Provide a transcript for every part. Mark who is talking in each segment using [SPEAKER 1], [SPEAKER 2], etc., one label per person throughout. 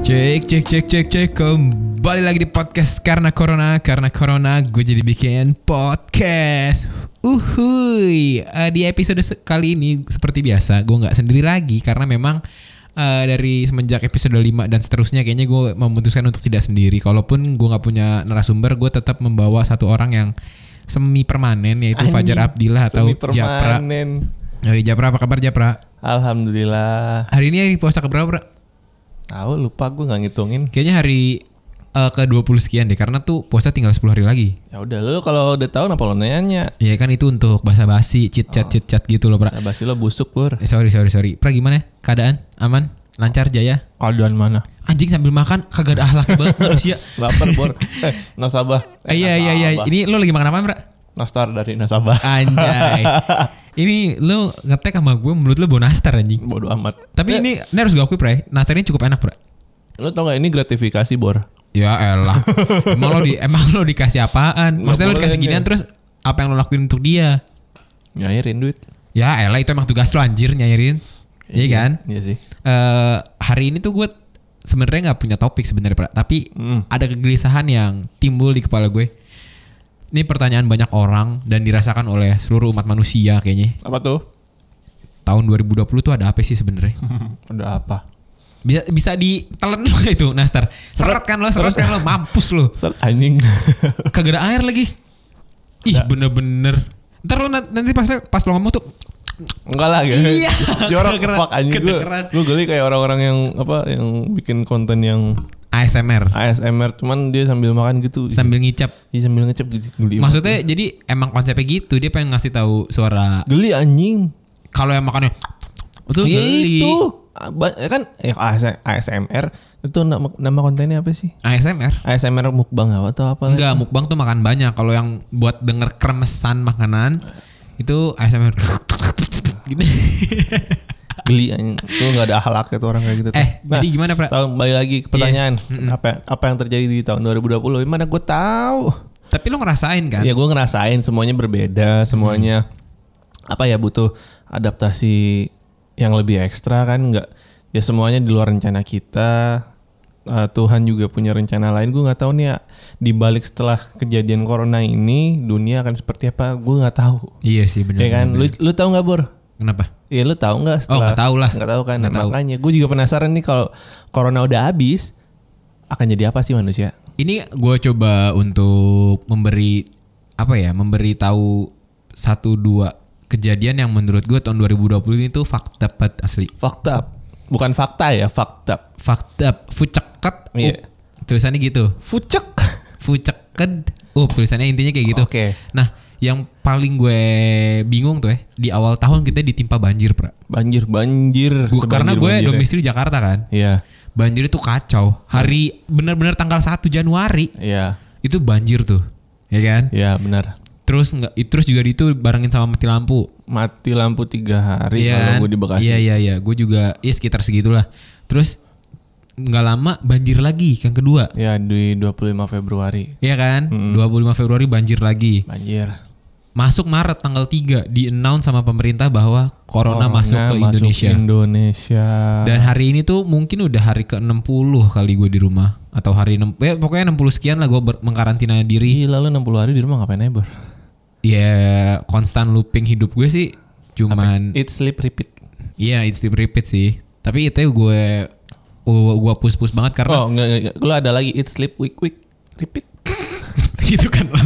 [SPEAKER 1] Cek cek cek cek cek kembali lagi di podcast karena corona karena corona gue jadi bikin podcast. Uhuy Eh, di episode se- kali ini seperti biasa gue nggak sendiri lagi karena memang eh, dari semenjak episode 5 dan seterusnya kayaknya gue memutuskan untuk tidak sendiri. Kalaupun gue nggak punya narasumber gue tetap membawa satu orang yang semi permanen yaitu Fajar Abdillah atau
[SPEAKER 2] Semi
[SPEAKER 1] Japra.
[SPEAKER 2] permanen.
[SPEAKER 1] Oke Japra apa kabar Japra?
[SPEAKER 2] Alhamdulillah.
[SPEAKER 1] Hari ini hari puasa keberapa? Pra?
[SPEAKER 2] Tahu lupa gue nggak ngitungin.
[SPEAKER 1] Kayaknya hari eh, ke 20 sekian deh karena tuh puasa tinggal 10 hari lagi.
[SPEAKER 2] Ya udah lu kalau udah tahu kenapa lo nanya?
[SPEAKER 1] Ya kan itu untuk basa-basi, chit
[SPEAKER 2] Oh.
[SPEAKER 1] chat chit chat gitu loh, Pra.
[SPEAKER 2] Sabasi lo busuk pur.
[SPEAKER 1] Eh, sorry sorry sorry. Pra gimana? ya? Keadaan aman? Lancar jaya?
[SPEAKER 2] Kaduan mana?
[SPEAKER 1] Anjing sambil makan kagak ada ahlak banget manusia.
[SPEAKER 2] Lapar pur. eh, nasabah.
[SPEAKER 1] Eh, Iya iya Ah. iya. Ini lo lagi makan apaan, Pra?
[SPEAKER 2] Nastar dari nasabah.
[SPEAKER 1] Anjay. ini lo ngetek sama gue menurut lo bawa nastar anjing.
[SPEAKER 2] Bodoh amat.
[SPEAKER 1] Tapi ini, ini harus gue akui, Pra. ya. Nastar ini cukup enak, Pra.
[SPEAKER 2] Lu tau gak ini gratifikasi bor?
[SPEAKER 1] Ya elah. emang lo di emang lo dikasih apaan?
[SPEAKER 2] Nggak
[SPEAKER 1] Maksudnya lo
[SPEAKER 2] boleh
[SPEAKER 1] dikasih
[SPEAKER 2] nih.
[SPEAKER 1] ginian terus apa yang lo lakuin untuk dia?
[SPEAKER 2] Nyairin duit.
[SPEAKER 1] Ya elah itu emang tugas lo anjir nyairin. Iya kan?
[SPEAKER 2] Iya sih.
[SPEAKER 1] Eh hari ini tuh gue sebenarnya nggak punya topik sebenarnya, Pra. tapi
[SPEAKER 2] Hmm.
[SPEAKER 1] ada kegelisahan yang timbul di kepala gue. Ini pertanyaan banyak orang dan dirasakan oleh seluruh umat manusia kayaknya.
[SPEAKER 2] Apa tuh?
[SPEAKER 1] Tahun 2020 tuh ada apa sih sebenarnya?
[SPEAKER 2] udah apa?
[SPEAKER 1] Bisa bisa ditelan lo nggak itu, Nastar. Seret kan lo, seret kan lo, mampus lo.
[SPEAKER 2] Ser anjing.
[SPEAKER 1] Kagak ada air lagi. Ih, bener-bener. Ntar lo na- nanti pas pas lo ngomong tuh
[SPEAKER 2] Enggak lah guys.
[SPEAKER 1] Iya.
[SPEAKER 2] Jorok
[SPEAKER 1] Kedengeran.
[SPEAKER 2] fuck anjing gue.
[SPEAKER 1] Kedengeran.
[SPEAKER 2] Gue geli kayak orang-orang yang apa yang bikin konten yang
[SPEAKER 1] ASMR
[SPEAKER 2] ASMR cuman dia sambil makan gitu.
[SPEAKER 1] sambil ngicap.
[SPEAKER 2] Iya sambil ngecep gitu geli. banget.
[SPEAKER 1] Maksudnya jadi emang konsepnya gitu, dia pengen ngasih tahu suara
[SPEAKER 2] geli anjing.
[SPEAKER 1] kalau yang makannya itu
[SPEAKER 2] Iya,
[SPEAKER 1] geli.
[SPEAKER 2] Itu Ah, ba- ya kan eh, AS- ASMR itu nama, nama kontennya apa sih?
[SPEAKER 1] ASMR.
[SPEAKER 2] ASMR mukbang apa atau apa?
[SPEAKER 1] Enggak, mukbang tuh makan banyak. Kalau yang buat denger kremesan makanan itu ASMR. Gini.
[SPEAKER 2] Geli anjing. Itu enggak ada akhlak itu orang kayak gitu. tuh.
[SPEAKER 1] eh, jadi Iya. gimana, Pra?
[SPEAKER 2] tahun balik lagi ke pertanyaan apa apa yang terjadi di tahun 2020 mana gue tahu
[SPEAKER 1] Tapi lo ngerasain kan?
[SPEAKER 2] ya gue ngerasain semuanya berbeda semuanya apa ya butuh adaptasi yang lebih ekstra kan nggak ya semuanya di luar rencana kita Eh, Tuhan juga punya rencana lain gue nggak tahu nih ya di balik setelah kejadian corona ini dunia akan seperti apa gue nggak tahu
[SPEAKER 1] Iya sih benar.
[SPEAKER 2] ya kan lu lu tahu nggak bor
[SPEAKER 1] Kenapa?
[SPEAKER 2] Iya lu tahu nggak
[SPEAKER 1] Oh,
[SPEAKER 2] setelah
[SPEAKER 1] nggak tahu lah.
[SPEAKER 2] nggak tahu kan
[SPEAKER 1] Nggak
[SPEAKER 2] Nah,
[SPEAKER 1] tahu.
[SPEAKER 2] makanya gue juga penasaran nih kalau corona udah habis akan jadi apa sih manusia
[SPEAKER 1] Ini gue coba untuk memberi apa ya? Memberi tahu satu dua kejadian yang menurut gue tahun 2020 ini tuh fakta dapat asli.
[SPEAKER 2] fakta bukan fakta ya fakta
[SPEAKER 1] Fakta fuceket. up.
[SPEAKER 2] Iya.
[SPEAKER 1] Tulisannya gitu.
[SPEAKER 2] fucek
[SPEAKER 1] Fuceked. Uh, tulisannya intinya kayak gitu.
[SPEAKER 2] oke
[SPEAKER 1] Nah, yang paling gue bingung tuh ya, di awal tahun kita ditimpa banjir, Pra.
[SPEAKER 2] banjir banjir ya?
[SPEAKER 1] Gua- karena gue
[SPEAKER 2] Sebanjir-banjirnya.
[SPEAKER 1] domisili Jakarta kan.
[SPEAKER 2] iya
[SPEAKER 1] Banjir itu kacau. Hari benar-benar tanggal 1 Januari
[SPEAKER 2] iya
[SPEAKER 1] itu banjir tuh. Ya kan?
[SPEAKER 2] iya benar
[SPEAKER 1] Terus nggak terus juga itu barengin sama mati lampu.
[SPEAKER 2] mati lampu tiga hari
[SPEAKER 1] Iya
[SPEAKER 2] kalau
[SPEAKER 1] kan?
[SPEAKER 2] gue di Bekasi
[SPEAKER 1] Iya, iya, iya. Gue juga ya sekitar segitulah. Terus nggak lama banjir lagi yang kedua.
[SPEAKER 2] ya di 25 Februari
[SPEAKER 1] Iya kan? 25 Februari banjir lagi.
[SPEAKER 2] banjir
[SPEAKER 1] Masuk Maret tanggal 3 di announce sama pemerintah bahwa corona, masuk
[SPEAKER 2] Nah,
[SPEAKER 1] ke Indonesia.
[SPEAKER 2] Indonesia
[SPEAKER 1] Dan hari ini tuh mungkin udah hari ke-60 kali gue di rumah atau hari 6 ya pokoknya 60 sekian lah gue ber- mengkarantina diri.
[SPEAKER 2] Ih, lalu 60 hari di rumah ngapain aja Bor?
[SPEAKER 1] Hmm. Ya konstan looping hidup gue sih cuman
[SPEAKER 2] Eat sleep repeat.
[SPEAKER 1] iya it's the repeat sih. Tapi itu gue gue gue push-push banget karena
[SPEAKER 2] oh enggak, enggak, enggak. Lu ada lagi eat sleep week week repeat.
[SPEAKER 1] gitu kan lo.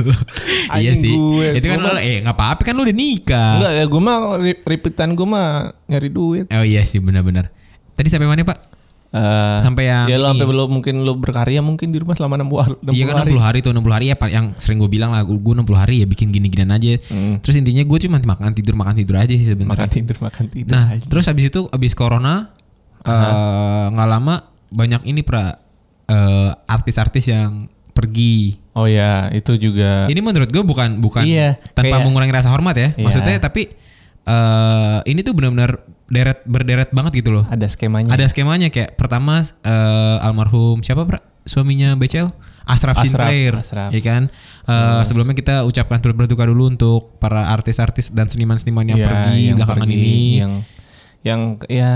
[SPEAKER 1] iya sih.
[SPEAKER 2] Anjing gue,
[SPEAKER 1] itu kan
[SPEAKER 2] gue
[SPEAKER 1] lo eh nggak apa-apa kan lo udah nikah.
[SPEAKER 2] Enggak, ya gue mah re- repeatan gue mah nyari duit.
[SPEAKER 1] Oh iya sih benar-benar. Tadi sampai mana Pak?
[SPEAKER 2] Eh,
[SPEAKER 1] Sampai yang
[SPEAKER 2] ya lu
[SPEAKER 1] ini.
[SPEAKER 2] sampai belum mungkin lu berkarya mungkin di rumah selama 60 hari.
[SPEAKER 1] Iya kan 60 hari tuh 60 hari ya Pak, yang sering gue bilang lah gue 60 hari ya bikin gini-ginian aja. Terus intinya gue cuma makan tidur makan tidur aja sih
[SPEAKER 2] Hmm. Makan
[SPEAKER 1] sebenarnya.
[SPEAKER 2] tidur, makan tidur.
[SPEAKER 1] Nah, terus habis itu habis corona eh, nggak lama banyak ini pra eh, artis-artis yang pergi.
[SPEAKER 2] Oh ya, itu juga
[SPEAKER 1] Ini menurut gue bukan bukan
[SPEAKER 2] Iya,
[SPEAKER 1] tanpa
[SPEAKER 2] kayak-
[SPEAKER 1] mengurangi rasa hormat ya.
[SPEAKER 2] Iya.
[SPEAKER 1] Maksudnya tapi eh ini tuh benar-benar deret berderet banget gitu loh.
[SPEAKER 2] ada skemanya.
[SPEAKER 1] Ada skemanya kayak pertama eh, almarhum siapa pra? suaminya Becel Asraf,
[SPEAKER 2] Asraf,
[SPEAKER 1] Sinclair
[SPEAKER 2] Asraf.
[SPEAKER 1] ya kan Eh, sebelumnya kita ucapkan turut berduka dulu untuk para artis-artis dan seniman-seniman yang
[SPEAKER 2] Ya,
[SPEAKER 1] pergi
[SPEAKER 2] yang
[SPEAKER 1] belakangan
[SPEAKER 2] pergi,
[SPEAKER 1] ini
[SPEAKER 2] yang yang ya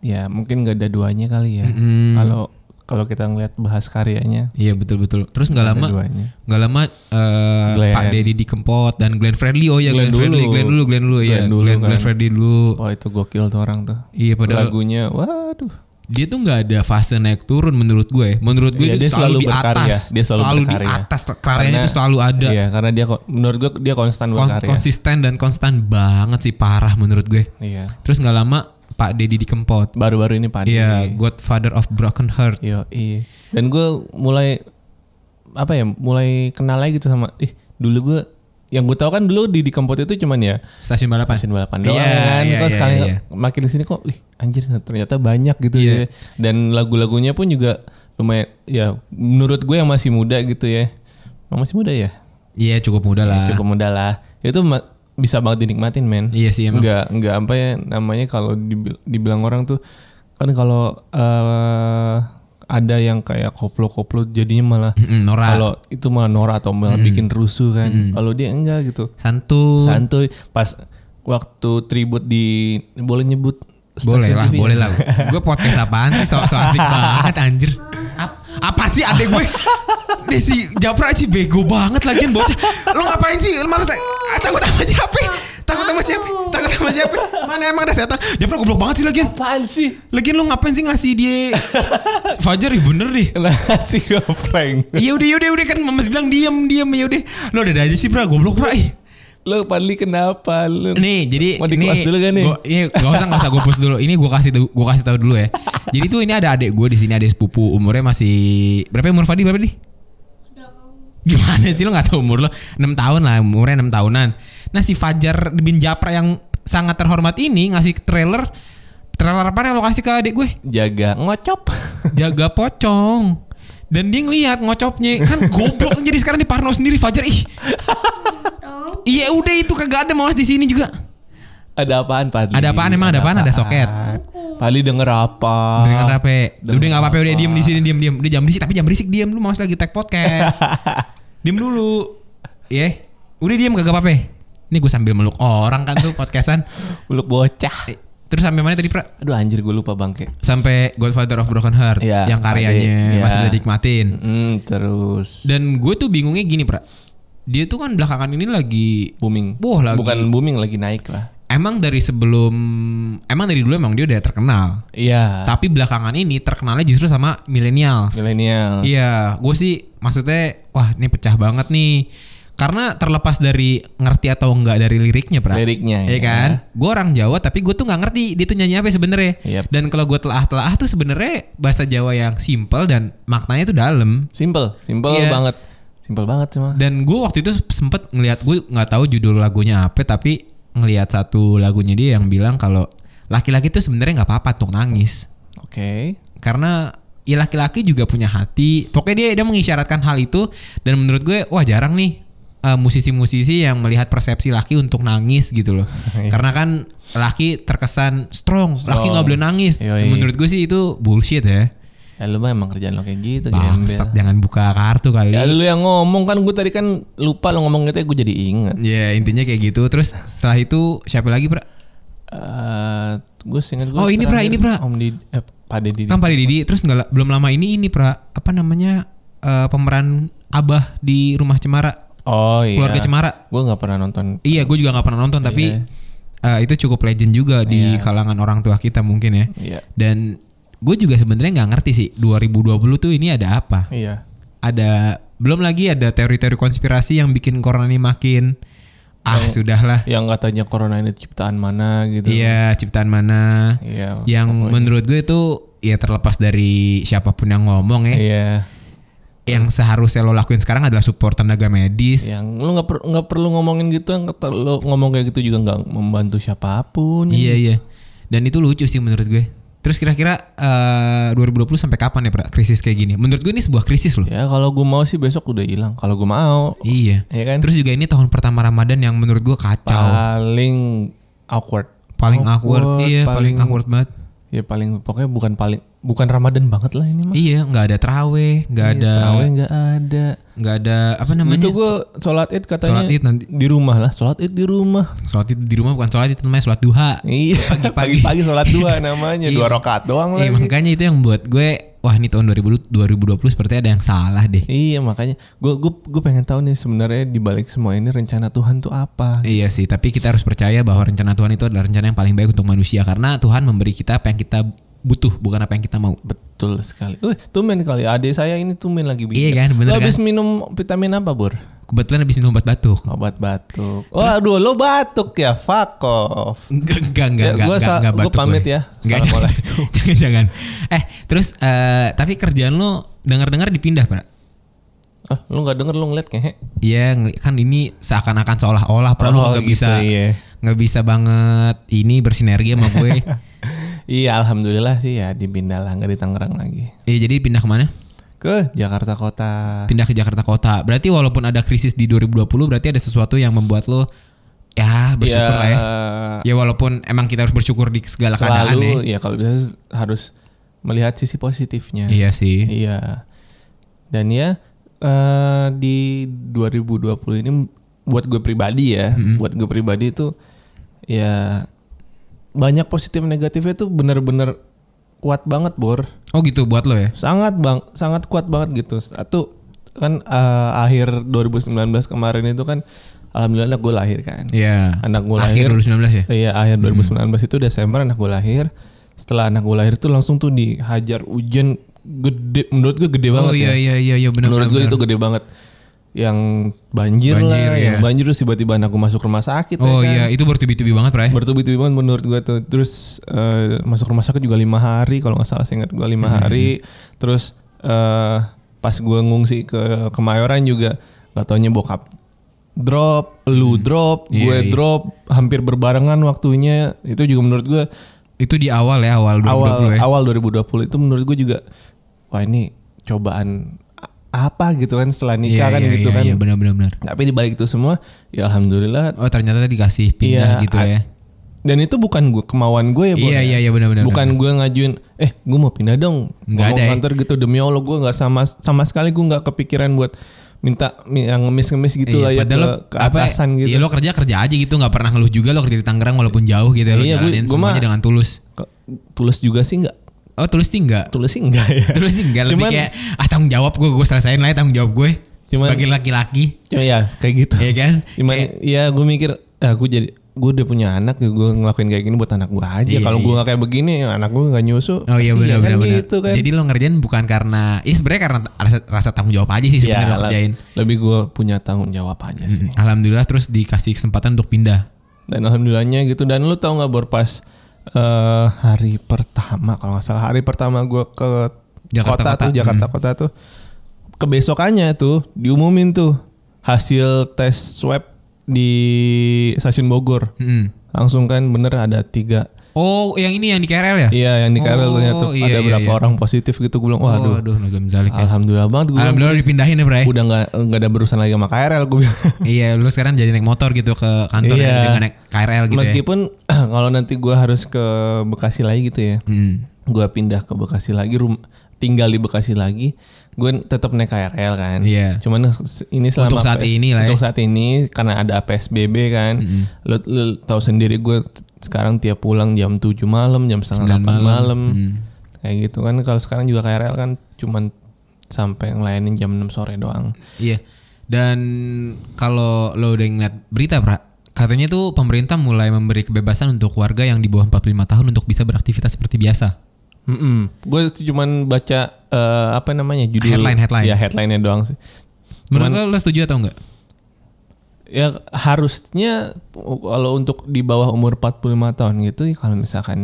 [SPEAKER 2] ya mungkin gak ada duanya kali ya.
[SPEAKER 1] Mm-mm.
[SPEAKER 2] Kalau kalau kita ngeliat bahas karyanya
[SPEAKER 1] Iya betul betul. Terus nggak
[SPEAKER 2] ada
[SPEAKER 1] lama
[SPEAKER 2] duanya.
[SPEAKER 1] nggak lama eh,
[SPEAKER 2] Glenn.
[SPEAKER 1] Pak Deddy dikempot dan Glenn Fredly oh ya Glenn,
[SPEAKER 2] Glenn
[SPEAKER 1] Fredly
[SPEAKER 2] dulu.
[SPEAKER 1] Glenn dulu Glenn dulu ya
[SPEAKER 2] Glenn dulu
[SPEAKER 1] Glenn,
[SPEAKER 2] kan.
[SPEAKER 1] Glenn Fredly dulu
[SPEAKER 2] Wah itu gokil tuh orang tuh.
[SPEAKER 1] iya padahal
[SPEAKER 2] Lagunya, waduh.
[SPEAKER 1] dia tuh nggak ada fase naik turun menurut gue menurut gue itu
[SPEAKER 2] Iya, dia
[SPEAKER 1] selalu, di
[SPEAKER 2] selalu berkarya.
[SPEAKER 1] atas
[SPEAKER 2] Dia selalu
[SPEAKER 1] di
[SPEAKER 2] berkarya.
[SPEAKER 1] atas karyanya
[SPEAKER 2] Karena-
[SPEAKER 1] itu selalu ada
[SPEAKER 2] Iya, karena dia ko- menurut gue dia konstan
[SPEAKER 1] Kon-
[SPEAKER 2] berkarya.
[SPEAKER 1] konsisten dan konstan banget sih parah menurut gue
[SPEAKER 2] Iya.
[SPEAKER 1] terus nggak lama Pak Deddy dikempot
[SPEAKER 2] Baru-baru ini Pak
[SPEAKER 1] iya Godfather of Broken Heart
[SPEAKER 2] Yo, iya. Dan gue mulai apa ya? Mulai kenal lagi gitu sama ih, dulu gue yang gue tahu kan dulu di di Kempot itu cuman ya
[SPEAKER 1] stasiun balapan
[SPEAKER 2] stasiun balapan doang
[SPEAKER 1] Iya,
[SPEAKER 2] kan.
[SPEAKER 1] iya,
[SPEAKER 2] Kok
[SPEAKER 1] iya,
[SPEAKER 2] sekarang
[SPEAKER 1] iya.
[SPEAKER 2] makin di sini kok ih anjir ternyata banyak gitu
[SPEAKER 1] Iya.
[SPEAKER 2] ya. Dan lagu-lagunya pun juga lumayan ya menurut gue yang masih muda gitu ya. Emang Masih muda ya?
[SPEAKER 1] iya cukup muda lah
[SPEAKER 2] cukup mudah lah itu ma- bisa banget dinikmatin men
[SPEAKER 1] iya sih emang
[SPEAKER 2] nggak nggak apa ya namanya kalau dibil- dibilang orang tuh kan kalau eh, ada yang kayak koplo-koplo jadinya malah
[SPEAKER 1] Mm-mm, Nora
[SPEAKER 2] kalau itu malah Nora atau malah
[SPEAKER 1] Hmm.
[SPEAKER 2] bikin rusuh kan kalau dia enggak gitu
[SPEAKER 1] santun
[SPEAKER 2] santuy pas waktu tribut di boleh nyebut
[SPEAKER 1] Boleh
[SPEAKER 2] stasiun
[SPEAKER 1] lah,
[SPEAKER 2] TV ya?
[SPEAKER 1] boleh lah. Gue podcast apaan sih? So, so asik banget anjir. Ap- apa sih adek gue? Nih si Japra sih bego banget lagian bocah. Lu ngapain sih? Lu mampus lah. Ah, Takut sama siapa? Takut sama siapa? Takut sama siapa? Mana emang ada setan? Japra goblok banget sih lagian.
[SPEAKER 2] apaan sih
[SPEAKER 1] Lagian lu ngapain sih ngasih dia Fajar ya bener deh.
[SPEAKER 2] nasi gopreng
[SPEAKER 1] Iya udah, iya udah, udah kan Mamas bilang diam, diam ya udah. Lu udah aja sih, Bra, goblok, Bra. Ih.
[SPEAKER 2] lo Padli kenapa lo
[SPEAKER 1] Nih, jadi
[SPEAKER 2] Mau dikelas
[SPEAKER 1] ini-
[SPEAKER 2] dulu gak nih?
[SPEAKER 1] Gua, iya, gak usah gak usah gue post dulu. Ini gue kasih tau- gua kasih tahu dulu ya. jadi tuh ini ada adik gue di sini adik sepupu umurnya masih berapa ya umur Fadi berapa nih? Gimana sih lo gak tau umur lo 6 tahun lah umurnya 6 tahunan Nah si Fajar bin Japra yang sangat terhormat ini Ngasih trailer Trailer apa yang lo kasih ke adik gue?
[SPEAKER 2] jaga ngocop
[SPEAKER 1] Jaga pocong Dan dia ngeliat ngocopnya Kan goblok jadi sekarang di Parno sendiri Fajar ih Iya udah itu kagak ada mawas di sini juga
[SPEAKER 2] Ada apaan Padli?
[SPEAKER 1] Ada apaan emang? Ada apaan? Ada soket?
[SPEAKER 2] Padli denger apa?
[SPEAKER 1] Dengan apa? Udah nggak apa-apa, udah
[SPEAKER 2] Ah, apa-apa.
[SPEAKER 1] diem di sini, diem diem. Udah jam berisik, tapi jam berisik diem. Lu mau lagi tag podcast. diem dulu. Iya. Udah diem kagak apa-apa. eh? Ini gue sambil meluk orang kan tuh podcastan.
[SPEAKER 2] Uluk bocah.
[SPEAKER 1] Terus sampai mana tadi, Pra?
[SPEAKER 2] Aduh anjir gue lupa bangke.
[SPEAKER 1] Sampai Godfather of Broken Heart
[SPEAKER 2] Iya,
[SPEAKER 1] yang karyanya
[SPEAKER 2] tadi, iya.
[SPEAKER 1] masih bisa dinikmatin.
[SPEAKER 2] Mm, terus
[SPEAKER 1] Dan gue tuh bingungnya gini, Pra. Dia tuh kan belakangan ini lagi
[SPEAKER 2] booming.
[SPEAKER 1] Wah, lagi-
[SPEAKER 2] Bukan booming lagi naik lah.
[SPEAKER 1] emang dari sebelum emang dari dulu emang dia udah terkenal.
[SPEAKER 2] Iya.
[SPEAKER 1] Tapi belakangan ini terkenalnya justru sama milenial.
[SPEAKER 2] Milenial.
[SPEAKER 1] Iya, gue sih maksudnya wah ini pecah banget nih. Karena terlepas dari ngerti atau enggak dari liriknya, Pra.
[SPEAKER 2] Liriknya.
[SPEAKER 1] Iya kan? Gue orang Jawa tapi gue tuh nggak ngerti dia tuh nyanyi apa sebenarnya.
[SPEAKER 2] Yap.
[SPEAKER 1] Dan kalau gue telah-telah tuh sebenarnya bahasa Jawa yang simple dan maknanya tuh dalam.
[SPEAKER 2] Simple, simple
[SPEAKER 1] Iya.
[SPEAKER 2] banget. Simple banget sih mah.
[SPEAKER 1] Dan gue waktu itu sempet ngelihat gue nggak tahu judul lagunya apa tapi ngelihat satu lagunya dia yang bilang kalau laki-laki tuh sebenarnya nggak apa-apa untuk nangis
[SPEAKER 2] Oke.
[SPEAKER 1] karena ya laki-laki juga punya hati pokoknya dia dia mengisyaratkan hal itu dan menurut gue wah jarang nih eh, musisi-musisi yang melihat persepsi laki untuk nangis gitu loh karena kan laki terkesan strong, laki
[SPEAKER 2] Iya. Strong.
[SPEAKER 1] nggak boleh nangis
[SPEAKER 2] Yoi.
[SPEAKER 1] menurut gue sih itu bullshit ya
[SPEAKER 2] Ya lu mah emang kerjaan lo kayak gitu gembel.
[SPEAKER 1] bangsat jangan buka kartu kali
[SPEAKER 2] Ya
[SPEAKER 1] ya
[SPEAKER 2] lu yang ngomong kan gue tadi kan lupa lo ngomong gitu ya gue jadi ingat.
[SPEAKER 1] intinya kayak gitu terus setelah itu siapa lagi pra
[SPEAKER 2] Eh gue singkat
[SPEAKER 1] Oh, ini, Pra, ini, Pra.
[SPEAKER 2] Om di eh, Pak Deddy.
[SPEAKER 1] kan Pak Didi terus nggak la- belum lama ini ini pra apa namanya eh, pemeran abah di rumah cemara
[SPEAKER 2] Oh iya.
[SPEAKER 1] keluarga cemara
[SPEAKER 2] Gue nggak pernah nonton
[SPEAKER 1] Iya, gue juga nggak pernah nonton, tapi eh, itu cukup legend juga di kalangan orang tua kita mungkin ya.
[SPEAKER 2] Iya.
[SPEAKER 1] Dan gue juga sebenarnya nggak ngerti sih 2020 tuh ini ada apa?
[SPEAKER 2] Iya.
[SPEAKER 1] Ada belum lagi ada teori-teori konspirasi yang bikin corona ini makin ah sudahlah.
[SPEAKER 2] Yang katanya corona ini ciptaan mana gitu.
[SPEAKER 1] Iya, ciptaan mana?
[SPEAKER 2] Iya.
[SPEAKER 1] Yang menurut gue Oh, itu ya terlepas dari siapapun yang ngomong ya,
[SPEAKER 2] Iya.
[SPEAKER 1] yang seharusnya lo lakuin sekarang adalah support tenaga medis.
[SPEAKER 2] Yang lu nggak per- nggak perlu ngomongin gitu, yang kata lu ngomong kayak gitu juga nggak membantu siapapun.
[SPEAKER 1] Iya iya. Dan itu lucu sih menurut gue. Terus kira-kira eh, 2020 sampai kapan ya pra krisis kayak gini? Menurut gue ini sebuah krisis loh.
[SPEAKER 2] Ya kalau gue mau sih besok udah hilang. Kalau gue mau,
[SPEAKER 1] Iya.
[SPEAKER 2] ya kan.
[SPEAKER 1] Terus juga ini tahun pertama Ramadan yang menurut gue kacau.
[SPEAKER 2] paling awkward.
[SPEAKER 1] paling awkward. Iya, paling, awkward banget.
[SPEAKER 2] Ya paling pokoknya bukan paling bukan Ramadan banget lah ini mah.
[SPEAKER 1] Iya, nggak ada teraweh, Iya, nggak ada
[SPEAKER 2] Tarawih nggak ada.
[SPEAKER 1] nggak ada apa namanya?
[SPEAKER 2] Itu gue sholat id katanya
[SPEAKER 1] Sholat id nanti.
[SPEAKER 2] di rumah lah. Sholat id di rumah.
[SPEAKER 1] Sholat id di rumah bukan sholat itu namanya sholat duha. Iya.
[SPEAKER 2] Iya. Pagi-pagi sholat dua namanya dua rokat doang
[SPEAKER 1] Eh,
[SPEAKER 2] lagi.
[SPEAKER 1] makanya itu yang buat gue wah ini tahun 2000 2020 seperti ada yang salah deh.
[SPEAKER 2] Iya makanya gue gue gue pengen tahu nih sebenarnya di balik semua ini rencana Tuhan tuh apa?
[SPEAKER 1] Iya sih, tapi kita harus percaya bahwa rencana Tuhan itu adalah rencana yang paling baik untuk manusia karena Tuhan memberi kita apa yang kita butuh, bukan apa yang kita mau.
[SPEAKER 2] Betul sekali. Wih, tumen kali adik saya ini tumen lagi
[SPEAKER 1] Iya
[SPEAKER 2] bijak.
[SPEAKER 1] kan, bener
[SPEAKER 2] Lo
[SPEAKER 1] kan?
[SPEAKER 2] habis minum vitamin apa, Bur?
[SPEAKER 1] Kebetulan habis minum obat batuk.
[SPEAKER 2] Obat batuk. Waduh, lo batuk ya? Fuck off.
[SPEAKER 1] Enggak, enggak, enggak,
[SPEAKER 2] Ya,
[SPEAKER 1] enggak,
[SPEAKER 2] gua
[SPEAKER 1] enggak,
[SPEAKER 2] sa-
[SPEAKER 1] enggak
[SPEAKER 2] gua
[SPEAKER 1] batuk
[SPEAKER 2] pamit
[SPEAKER 1] gue.
[SPEAKER 2] ya.
[SPEAKER 1] Enggak, jangan, jangan, jangan. Eh, terus eh, tapi kerjaan lo dengar-dengar dipindah, Pak.
[SPEAKER 2] Ah, lo nggak denger lo ngeliat ngehe.
[SPEAKER 1] Iya, ngeli- kan ini seakan-akan seolah-olah Pran lo
[SPEAKER 2] Oh,
[SPEAKER 1] nggak
[SPEAKER 2] gitu,
[SPEAKER 1] bisa
[SPEAKER 2] iya.
[SPEAKER 1] nggak bisa banget ini bersinergi sama gue.
[SPEAKER 2] Iya, alhamdulillah sih ya di Bindala nggak di Tangerang lagi.
[SPEAKER 1] Iya, jadi pindah kemana?
[SPEAKER 2] Ke Jakarta Kota.
[SPEAKER 1] Pindah ke Jakarta Kota. Berarti walaupun ada krisis di 2020, berarti ada sesuatu yang membuat lo ya bersyukur lah ya. Ya walaupun emang kita harus bersyukur di segala keadaan ya.
[SPEAKER 2] Iya. selalu ya kalau bisa harus melihat sisi positifnya.
[SPEAKER 1] Iya sih.
[SPEAKER 2] Iya. Dan ya eh, di 2020 ini buat gue pribadi ya,
[SPEAKER 1] Mm-hmm.
[SPEAKER 2] buat gue pribadi itu ya banyak positif negatifnya tuh bener-bener kuat banget bor,
[SPEAKER 1] Oh gitu buat lo ya.
[SPEAKER 2] sangat bang, sangat kuat banget gitu. Satu kan eh, akhir 2019 kemarin itu kan alhamdulillah gue lahir kan.
[SPEAKER 1] Iya.
[SPEAKER 2] Anak gue lahir.
[SPEAKER 1] Akhir 2019 ya.
[SPEAKER 2] Iya akhir 2019 itu Desember anak gue lahir. Setelah anak gue lahir tuh langsung tuh dihajar hujan gede. Menurut gue gede
[SPEAKER 1] Oh
[SPEAKER 2] banget
[SPEAKER 1] iya
[SPEAKER 2] ya.
[SPEAKER 1] iya iya iya benar
[SPEAKER 2] menurut
[SPEAKER 1] benar.
[SPEAKER 2] gue itu gede banget. Yang banjir,
[SPEAKER 1] Banjir,
[SPEAKER 2] lah,
[SPEAKER 1] ya.
[SPEAKER 2] yang banjir terus tiba-tiba anak gue masuk rumah sakit. ya
[SPEAKER 1] Oh
[SPEAKER 2] kan.
[SPEAKER 1] iya, itu bertubi-tubi banget, Pray.
[SPEAKER 2] Bertubi-tubi banget menurut gue tuh. Terus eh, masuk rumah sakit juga lima hari kalau nggak salah seingat gue
[SPEAKER 1] Hmm,
[SPEAKER 2] lima hari. Terus eh, pas gue ngungsi ke Kemayoran juga gak taunya bokap drop, lu drop,
[SPEAKER 1] Iya,
[SPEAKER 2] gue
[SPEAKER 1] iya.
[SPEAKER 2] drop, hampir berbarengan waktunya. Itu juga menurut gue
[SPEAKER 1] Itu di awal ya, awal 2020
[SPEAKER 2] awal
[SPEAKER 1] ya.
[SPEAKER 2] awal 2020 itu menurut gue juga wah ini cobaan a- apa gitu kan setelah nikah kan gitu kan.
[SPEAKER 1] Iya, benar benar benar.
[SPEAKER 2] Tapi di balik itu semua ya alhamdulillah
[SPEAKER 1] Oh, ternyata dikasih pindah
[SPEAKER 2] Iya,
[SPEAKER 1] gitu ya.
[SPEAKER 2] dan itu bukan gue kemauan gue ya Bu.
[SPEAKER 1] Iya iya iya benar benar.
[SPEAKER 2] bukan gue ngajuin eh gue mau pindah dong
[SPEAKER 1] Nggak ada
[SPEAKER 2] Ngomong
[SPEAKER 1] ya.
[SPEAKER 2] kantor gitu demi allah gue nggak sama sama sekali gue nggak kepikiran buat minta mi- yang ngemis ngemis gitu lah
[SPEAKER 1] Iya,
[SPEAKER 2] ya
[SPEAKER 1] padahal
[SPEAKER 2] ke,
[SPEAKER 1] lo
[SPEAKER 2] ke atasan
[SPEAKER 1] apa,
[SPEAKER 2] gitu
[SPEAKER 1] Iya lo kerja kerja aja gitu, nggak pernah ngeluh juga lo kerja di Tangerang walaupun jauh gitu ya, lo
[SPEAKER 2] Iya, gue-
[SPEAKER 1] jalanin
[SPEAKER 2] gue
[SPEAKER 1] semuanya
[SPEAKER 2] mah-
[SPEAKER 1] dengan tulus.
[SPEAKER 2] Ke- tulus juga sih nggak
[SPEAKER 1] Oh tulus sih enggak?
[SPEAKER 2] tulus sih nggak ya
[SPEAKER 1] Tulus sih enggak lebih
[SPEAKER 2] Cuman-
[SPEAKER 1] kayak ah tanggung jawab gue, gue selesain lah ya tanggung jawab gue
[SPEAKER 2] Cuman-
[SPEAKER 1] sebagai laki-laki,
[SPEAKER 2] Cuma ya kayak gitu
[SPEAKER 1] ya kan?
[SPEAKER 2] cuman ya gue mikir ah gue jadi gue udah punya anak gue ngelakuin kayak gini buat anak gue aja
[SPEAKER 1] Iya,
[SPEAKER 2] kalau gue
[SPEAKER 1] iya.
[SPEAKER 2] nggak kayak begini ya anak gue nggak nyusu
[SPEAKER 1] Oh iya
[SPEAKER 2] Kasihan
[SPEAKER 1] benar
[SPEAKER 2] kan
[SPEAKER 1] benar benar.
[SPEAKER 2] gitu kan
[SPEAKER 1] Jadi lo ngerjain bukan karena, ya sebenarnya karena rasa, rasa tanggung jawab aja sih
[SPEAKER 2] Ya,
[SPEAKER 1] sebenarnya lo
[SPEAKER 2] le-
[SPEAKER 1] kerjain. Mm-hmm.
[SPEAKER 2] lebih gue punya tanggung jawab aja sih
[SPEAKER 1] Alhamdulillah terus dikasih kesempatan untuk pindah.
[SPEAKER 2] dan alhamdulillahnya gitu dan lu tau nggak berpas eh hari pertama kalau nggak salah hari pertama gue ke
[SPEAKER 1] Jakarta
[SPEAKER 2] kota,
[SPEAKER 1] Kota. Mm-hmm.
[SPEAKER 2] tuh Jakarta kota tuh kebesokannya tuh diumumin tuh hasil tes swab di stasiun Bogor
[SPEAKER 1] Mm-mm.
[SPEAKER 2] langsung kan bener ada tiga
[SPEAKER 1] Oh yang ini yang di KRL ya?
[SPEAKER 2] iya yang di
[SPEAKER 1] Oh,
[SPEAKER 2] Karel ternyata
[SPEAKER 1] iya,
[SPEAKER 2] ada
[SPEAKER 1] iya, iya.
[SPEAKER 2] berapa orang positif gitu gue bilang waduh
[SPEAKER 1] Oh, aduh, Nazlum Zalik ya.
[SPEAKER 2] alhamdulillah banget gue bilang,
[SPEAKER 1] Alhamdulillah dipindahin ya, Bray.
[SPEAKER 2] udah nggak nggak ada berurusan lagi sama KRL gue bilang
[SPEAKER 1] iya, lu sekarang jadi naik motor gitu ke kantor
[SPEAKER 2] Iya.
[SPEAKER 1] dengan naik KRL gitu ya.
[SPEAKER 2] meskipun kalau nanti gue harus ke Bekasi lagi gitu ya
[SPEAKER 1] Hmm.
[SPEAKER 2] gue pindah ke Bekasi lagi rum tinggal di Bekasi lagi gue tetap naik KRL kan
[SPEAKER 1] Iya.
[SPEAKER 2] cuman se- ini selama
[SPEAKER 1] Untuk saat
[SPEAKER 2] P-
[SPEAKER 1] ini lah ya.
[SPEAKER 2] untuk saat ini karena ada PSBB kan
[SPEAKER 1] hmm.
[SPEAKER 2] lo, lo tahu sendiri gue t- sekarang tiap pulang jam 7 malam jam setengah 8
[SPEAKER 1] Sembilan
[SPEAKER 2] malam,
[SPEAKER 1] malam. Hmm.
[SPEAKER 2] kayak gitu kan kalau sekarang juga KRL kan cuman sampai ngelayanin jam 6 sore doang
[SPEAKER 1] Iya. Dan kalau lo udah ngeliat berita, Pra, katanya tuh pemerintah mulai memberi kebebasan untuk warga yang di bawah 45 tahun untuk bisa beraktivitas seperti biasa.
[SPEAKER 2] gue cuman baca eh, apa namanya judul
[SPEAKER 1] Headline, headline.
[SPEAKER 2] ya headline-nya doang sih
[SPEAKER 1] Menurut lo, lo setuju atau enggak?
[SPEAKER 2] ya harusnya kalau untuk di bawah umur 45 tahun gitu ya kalau misalkan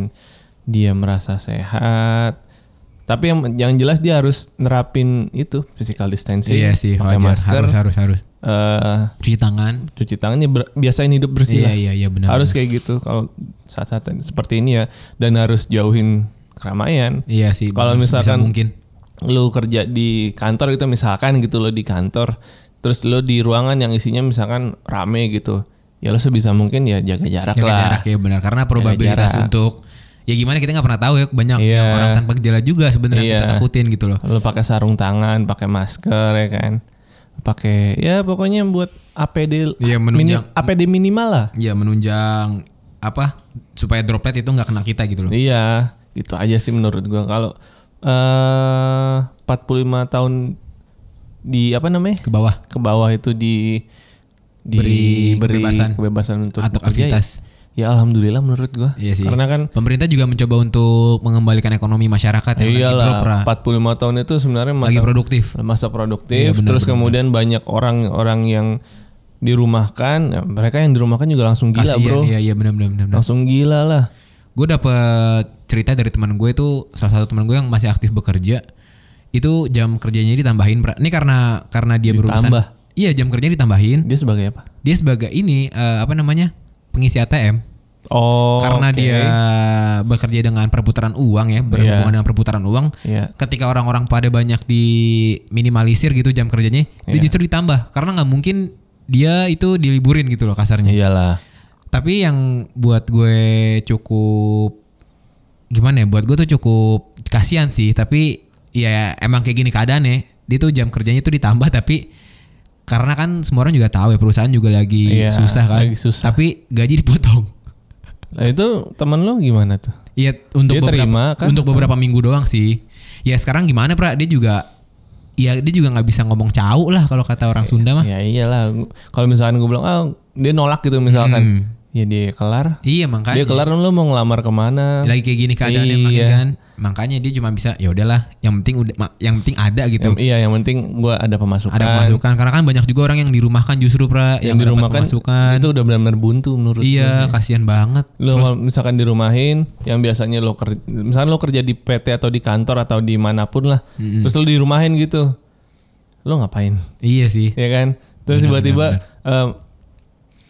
[SPEAKER 2] dia merasa sehat tapi yang yang jelas dia harus nerapin itu physical distancing
[SPEAKER 1] iya sih, wajar.
[SPEAKER 2] pakai masker
[SPEAKER 1] Harus, harus, harus.
[SPEAKER 2] eh,
[SPEAKER 1] Cuci tangan.
[SPEAKER 2] cuci tangannya ber- biasain hidup bersih
[SPEAKER 1] Iya,
[SPEAKER 2] lah.
[SPEAKER 1] iya, iya benar.
[SPEAKER 2] harus kayak gitu kalau saat-saat ini- seperti ini ya dan harus jauhin keramaian
[SPEAKER 1] Iya sih.
[SPEAKER 2] Kalau
[SPEAKER 1] bisa- bisa
[SPEAKER 2] misalkan-
[SPEAKER 1] mungkin.
[SPEAKER 2] lu kerja di kantor gitu misalkan gitu lo di kantor terus lo di ruangan yang isinya misalkan rame gitu ya lo sebisa mungkin ya jaga jarak
[SPEAKER 1] jaga
[SPEAKER 2] lah
[SPEAKER 1] jarak ya benar karena probabilitas
[SPEAKER 2] jarak.
[SPEAKER 1] untuk ya gimana kita nggak pernah tahu ya banyak
[SPEAKER 2] Iya.
[SPEAKER 1] yang orang tanpa gejala juga sebenarnya yang
[SPEAKER 2] Iya.
[SPEAKER 1] kita takutin gitu loh
[SPEAKER 2] lo pakai sarung tangan pakai masker ya kan pakai ya pokoknya buat APD
[SPEAKER 1] Iya,
[SPEAKER 2] mini-
[SPEAKER 1] menunjang-
[SPEAKER 2] APD minimal lah
[SPEAKER 1] ya menunjang apa supaya droplet itu nggak kena kita gitu loh
[SPEAKER 2] iya gitu aja sih menurut gua kalau eh, eh 45 tahun di apa namanya?
[SPEAKER 1] ke bawah
[SPEAKER 2] ke bawah itu di
[SPEAKER 1] Beri kebebasan.
[SPEAKER 2] kebebasan untuk
[SPEAKER 1] atau
[SPEAKER 2] bekerja,
[SPEAKER 1] aktivitas.
[SPEAKER 2] Ya, alhamdulillah menurut gua.
[SPEAKER 1] Iya sih.
[SPEAKER 2] Karena kan
[SPEAKER 1] Pemerintah juga mencoba untuk mengembalikan ekonomi masyarakat yang lagi drop, Ra.
[SPEAKER 2] iyalah 45 tahun itu sebenarnya
[SPEAKER 1] lagi
[SPEAKER 2] masa
[SPEAKER 1] produktif.
[SPEAKER 2] masa produktif
[SPEAKER 1] Iya, benar,
[SPEAKER 2] terus
[SPEAKER 1] benar,
[SPEAKER 2] kemudian banyak orang-orang yang dirumahkan, ya, mereka yang dirumahkan juga langsung gila,
[SPEAKER 1] Kasian,
[SPEAKER 2] Bro.
[SPEAKER 1] Iya, iya benar benar benar. benar.
[SPEAKER 2] Langsung gila lah.
[SPEAKER 1] Gue dapet cerita dari teman gue itu salah satu teman gue yang masih aktif bekerja itu jam kerjanya ditambahin. Pra. Ini karena karena dia berurusan.
[SPEAKER 2] Ditambah.
[SPEAKER 1] Iya, jam kerjanya ditambahin.
[SPEAKER 2] Dia sebagai apa?
[SPEAKER 1] Dia sebagai ini eh, apa namanya? pengisi ATM.
[SPEAKER 2] Oh,
[SPEAKER 1] karena
[SPEAKER 2] oke.
[SPEAKER 1] dia bekerja dengan perputaran uang ya, berhubungan
[SPEAKER 2] Iya.
[SPEAKER 1] dengan perputaran uang.
[SPEAKER 2] Iya.
[SPEAKER 1] ketika orang-orang pada banyak diminimalisir gitu jam kerjanya, dia
[SPEAKER 2] Iya.
[SPEAKER 1] justru ditambah karena nggak mungkin dia itu diliburin gitu loh kasarnya.
[SPEAKER 2] Iyalah.
[SPEAKER 1] Tapi yang buat gue cukup gimana ya? Buat gue tuh cukup kasihan sih, tapi ya emang kayak gini keadaannya. Dia tuh jam kerjanya tuh ditambah tapi karena kan semua orang juga tahu ya perusahaan juga lagi
[SPEAKER 2] Iya,
[SPEAKER 1] susah kan.
[SPEAKER 2] lagi susah.
[SPEAKER 1] Tapi gaji dipotong.
[SPEAKER 2] Nah, itu temen lo gimana tuh?
[SPEAKER 1] Iya untuk
[SPEAKER 2] Dia
[SPEAKER 1] beberapa
[SPEAKER 2] terima, kan?
[SPEAKER 1] untuk beberapa minggu doang sih. Ya sekarang gimana pra? Dia juga ya dia juga nggak bisa ngomong cau lah kalau kata orang Sunda mah.
[SPEAKER 2] Ya iyalah. Kalau misalkan gue bilang, ah dia nolak gitu misalkan.
[SPEAKER 1] Hmm.
[SPEAKER 2] Ya dia kelar.
[SPEAKER 1] Iya makanya. Ya,
[SPEAKER 2] Dia kelar lo mau ngelamar kemana?
[SPEAKER 1] Lagi kayak gini keadaannya makin
[SPEAKER 2] Iya.
[SPEAKER 1] kan. Makanya dia cuma bisa ya udahlah. Yang penting udah ma- yang penting ada gitu.
[SPEAKER 2] Yang- iya yang penting gue ada pemasukan.
[SPEAKER 1] ada pemasukan karena kan banyak juga orang yang dirumahkan justru pra yang,
[SPEAKER 2] Yang, di
[SPEAKER 1] nggak dapat
[SPEAKER 2] rumah kan
[SPEAKER 1] pemasukan.
[SPEAKER 2] itu udah benar-benar buntu menurut
[SPEAKER 1] Iya kasihan banget.
[SPEAKER 2] lo kalau misalkan dirumahin yang biasanya lo kerja misalkan lo kerja di PT atau di kantor atau di manapun lah
[SPEAKER 1] Hmm.
[SPEAKER 2] terus lo dirumahin gitu lo ngapain
[SPEAKER 1] Iya sih.
[SPEAKER 2] ya kan terus tiba-tiba eh,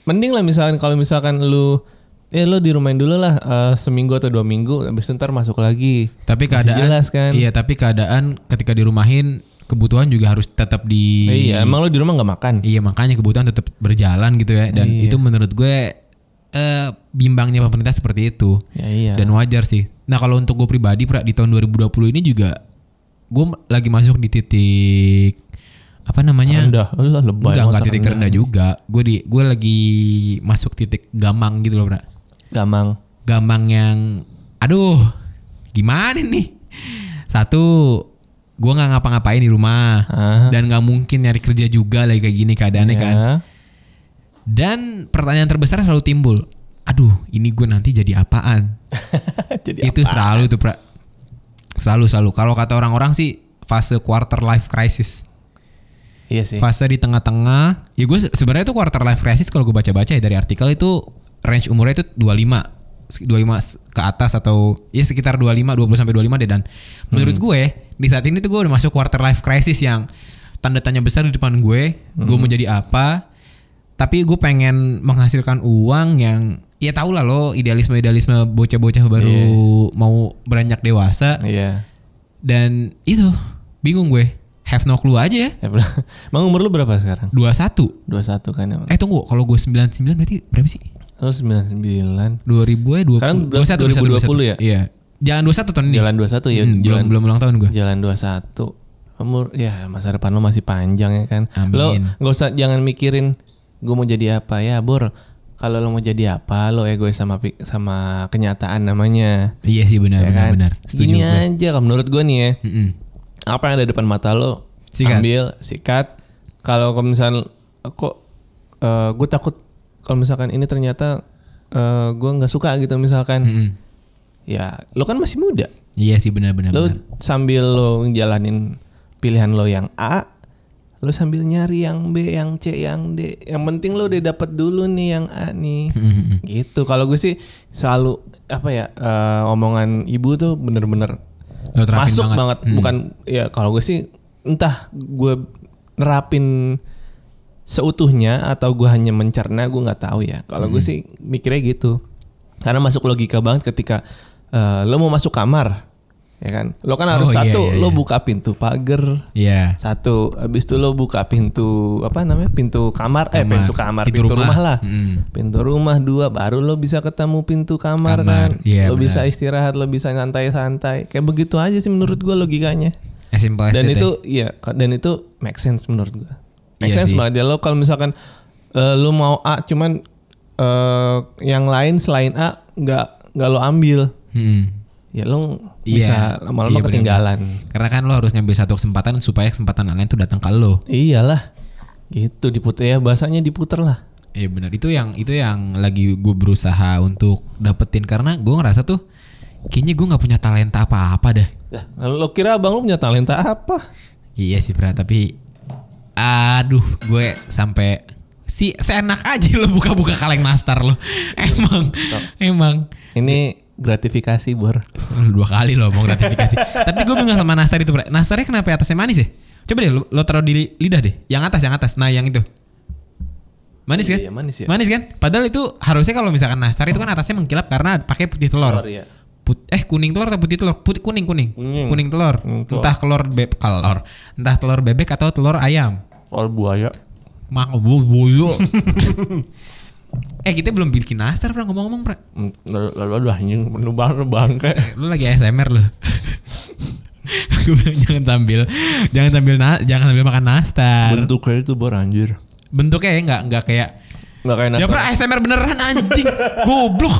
[SPEAKER 2] mending lah misalkan kalau misalkan lu ya lo dirumahin dulu lah eh, seminggu atau dua minggu habis itu ntar masuk lagi
[SPEAKER 1] Tapi
[SPEAKER 2] Masih
[SPEAKER 1] keadaan
[SPEAKER 2] jelas kan
[SPEAKER 1] Iya tapi keadaan ketika dirumahin kebutuhan juga harus tetap di
[SPEAKER 2] Eh, iya emang lo di rumah nggak makan
[SPEAKER 1] Iya makanya kebutuhan tetap berjalan gitu ya
[SPEAKER 2] Iya.
[SPEAKER 1] dan itu menurut gue eh, bimbangnya pemerintah seperti itu
[SPEAKER 2] ya iya
[SPEAKER 1] dan wajar sih. Nah kalau untuk gue pribadi pra, di tahun 2020 ini juga gue m- lagi masuk di titik apa namanya?
[SPEAKER 2] rendah lo lebay
[SPEAKER 1] Enggak enggak
[SPEAKER 2] otak
[SPEAKER 1] titik rendah juga. Gue di gue lagi masuk titik gamang gitu loh pra.
[SPEAKER 2] gamang
[SPEAKER 1] Gamang yang aduh gimana nih? Satu gue nggak ngapa-ngapain di rumah
[SPEAKER 2] ah
[SPEAKER 1] dan nggak mungkin nyari kerja juga lagi kayak gini keadaannya kan.
[SPEAKER 2] ya.
[SPEAKER 1] Dan pertanyaan terbesar selalu timbul. Aduh, ini gue nanti jadi apaan?
[SPEAKER 2] jadi
[SPEAKER 1] itu selalu tuh, Pra. Selalu selalu. Kalau kata orang-orang sih fase quarter life crisis.
[SPEAKER 2] iya sih
[SPEAKER 1] Fase di tengah-tengah. Ya gue se- sebenarnya tuh quarter life crisis kalau gue baca-baca ya dari artikel itu range umurnya itu 25 Se- 25 s- ke atas atau ya sekitar 25 20 sampai 25 deh dan menurut gue di saat ini tuh gue udah masuk quarter life crisis yang tanda tanya besar di depan gue, gue mau jadi apa? tapi gue pengen menghasilkan uang yang ya tau lah lo idealisme idealisme bocah-bocah baru mau beranjak dewasa
[SPEAKER 2] iya
[SPEAKER 1] dan itu bingung gue have no clue aja ya
[SPEAKER 2] Ya, bro. Emang umur lu berapa sekarang?
[SPEAKER 1] 21
[SPEAKER 2] 21 kan Oh, emang.
[SPEAKER 1] eh tunggu kalau gue 99 berarti berapa sih
[SPEAKER 2] Lu
[SPEAKER 1] 2000
[SPEAKER 2] 99.
[SPEAKER 1] ya 20
[SPEAKER 2] Sekarang berapa?
[SPEAKER 1] 21,
[SPEAKER 2] 2020 ya?
[SPEAKER 1] iya jangan 21 tahun ini
[SPEAKER 2] Jalan 21 ya. Iya.
[SPEAKER 1] Hmm, belum
[SPEAKER 2] jalan,
[SPEAKER 1] belum ulang tahun gue
[SPEAKER 2] jalan 21. Umur ya masa depan lu masih panjang ya kan.
[SPEAKER 1] Amin.
[SPEAKER 2] Lo nggak usah jangan mikirin gue mau jadi apa ya, Bor. Kalau lo mau jadi apa, lo egois sama pik- sama kenyataan namanya.
[SPEAKER 1] iya sih benar
[SPEAKER 2] Ya
[SPEAKER 1] benar
[SPEAKER 2] kan?
[SPEAKER 1] benar setuju
[SPEAKER 2] Gini
[SPEAKER 1] gue.
[SPEAKER 2] aja kalau menurut gue nih ya.
[SPEAKER 1] Mm-mm.
[SPEAKER 2] Apa yang ada depan mata lo
[SPEAKER 1] Sikat.
[SPEAKER 2] ambil, sikat. Kalau kalau misalnya kok gue takut kalau misalkan ini ternyata eh, gue nggak suka gitu misalkan.
[SPEAKER 1] Mm-mm.
[SPEAKER 2] Ya, lo kan masih muda.
[SPEAKER 1] iya sih benar benar
[SPEAKER 2] Lo
[SPEAKER 1] benar
[SPEAKER 2] sambil lo jalanin pilihan lo yang A, lo sambil nyari yang B, yang C, yang D. Yang penting lo udah dapet dulu nih yang A nih.
[SPEAKER 1] Mm-mm.
[SPEAKER 2] Gitu. Kalau gue sih selalu apa ya eh, omongan ibu tuh bener-bener
[SPEAKER 1] Lo terapin
[SPEAKER 2] masuk
[SPEAKER 1] banget. Hmm.
[SPEAKER 2] banget. Bukan ya kalau gue sih entah gue nerapin seutuhnya atau gue hanya mencerna gue nggak tahu ya. Kalau
[SPEAKER 1] Hmm.
[SPEAKER 2] gue sih mikirnya gitu. Karena masuk logika banget ketika eh, lo mau masuk kamar, ya kan? Lo kan
[SPEAKER 1] Oh,
[SPEAKER 2] harus
[SPEAKER 1] iya,
[SPEAKER 2] satu,
[SPEAKER 1] iya,
[SPEAKER 2] lo
[SPEAKER 1] iya.
[SPEAKER 2] buka pintu pagar
[SPEAKER 1] iya
[SPEAKER 2] satu, habis itu lo buka pintu apa namanya pintu kamar, eh
[SPEAKER 1] Kamar.
[SPEAKER 2] pintu kamar,
[SPEAKER 1] Pintu
[SPEAKER 2] pintu,
[SPEAKER 1] rumah.
[SPEAKER 2] rumah. lah,
[SPEAKER 1] Mm.
[SPEAKER 2] pintu rumah dua, baru lo bisa ketemu pintu kamar,
[SPEAKER 1] Kamar.
[SPEAKER 2] kan,
[SPEAKER 1] Iya,
[SPEAKER 2] lo
[SPEAKER 1] benar.
[SPEAKER 2] bisa istirahat, lo bisa santai-santai, kayak begitu aja sih menurut gua logikanya
[SPEAKER 1] as simple as
[SPEAKER 2] dan
[SPEAKER 1] that ya.
[SPEAKER 2] itu iya ka- dan itu make sense menurut gua make
[SPEAKER 1] Iya
[SPEAKER 2] sense
[SPEAKER 1] sih.
[SPEAKER 2] banget ya lo kalau misalkan eh, lo mau A cuman eh, yang lain selain A nggak nggak lo ambil
[SPEAKER 1] Mm-mm.
[SPEAKER 2] ya lo
[SPEAKER 1] Iya.
[SPEAKER 2] bisa lama-lama
[SPEAKER 1] Iya, bener-bener.
[SPEAKER 2] ketinggalan.
[SPEAKER 1] Karena kan lo harus ngambil satu kesempatan supaya kesempatan lain tuh datang ke lo.
[SPEAKER 2] Iyalah. Gitu diputer ya bahasanya diputer lah.
[SPEAKER 1] Iya benar itu yang itu yang lagi gue berusaha untuk dapetin karena gue ngerasa tuh kayaknya gue nggak punya talenta apa-apa dah.
[SPEAKER 2] Lah, Nah, lo kira abang lo punya talenta apa?
[SPEAKER 1] Iya sih Pra tapi aduh gue sampai si seenak aja lo buka-buka kaleng nastar lo emang emang
[SPEAKER 2] Ini gratifikasi bor.
[SPEAKER 1] Lu dua kali lo mau gratifikasi tapi gue bingung sama nastar itu Pra nastarnya kenapa atasnya manis ya coba deh lo, lo taruh di li- lidah deh yang atas yang atas nah yang itu manis kan
[SPEAKER 2] Iya, manis ya.
[SPEAKER 1] manis kan padahal itu harusnya kalau misalkan nastar itu kan atasnya mengkilap karena pakai putih telur
[SPEAKER 2] Telur, iya.
[SPEAKER 1] Put- eh kuning telur atau putih telur putih kuning kuning
[SPEAKER 2] Kuning.
[SPEAKER 1] kuning telur
[SPEAKER 2] Kuning telur.
[SPEAKER 1] entah telur beb telur entah telur bebek atau telur ayam
[SPEAKER 2] Or buaya.
[SPEAKER 1] mak bu- buyu eh kita belum bikin nastar pra ngomong-ngomong pra Eh,
[SPEAKER 2] Hmm, Lalu lalu aduh anjing penuh banget bangke.
[SPEAKER 1] lu lagi ASMR lu Gua bilang jangan sambil jangan sambil na- jangan sambil makan nastar
[SPEAKER 2] Bentuknya itu bor anjir.
[SPEAKER 1] bentuknya ya nggak nggak kayak
[SPEAKER 2] Enggak kayak
[SPEAKER 1] ya
[SPEAKER 2] nastar.
[SPEAKER 1] pra ASMR beneran anjing goblok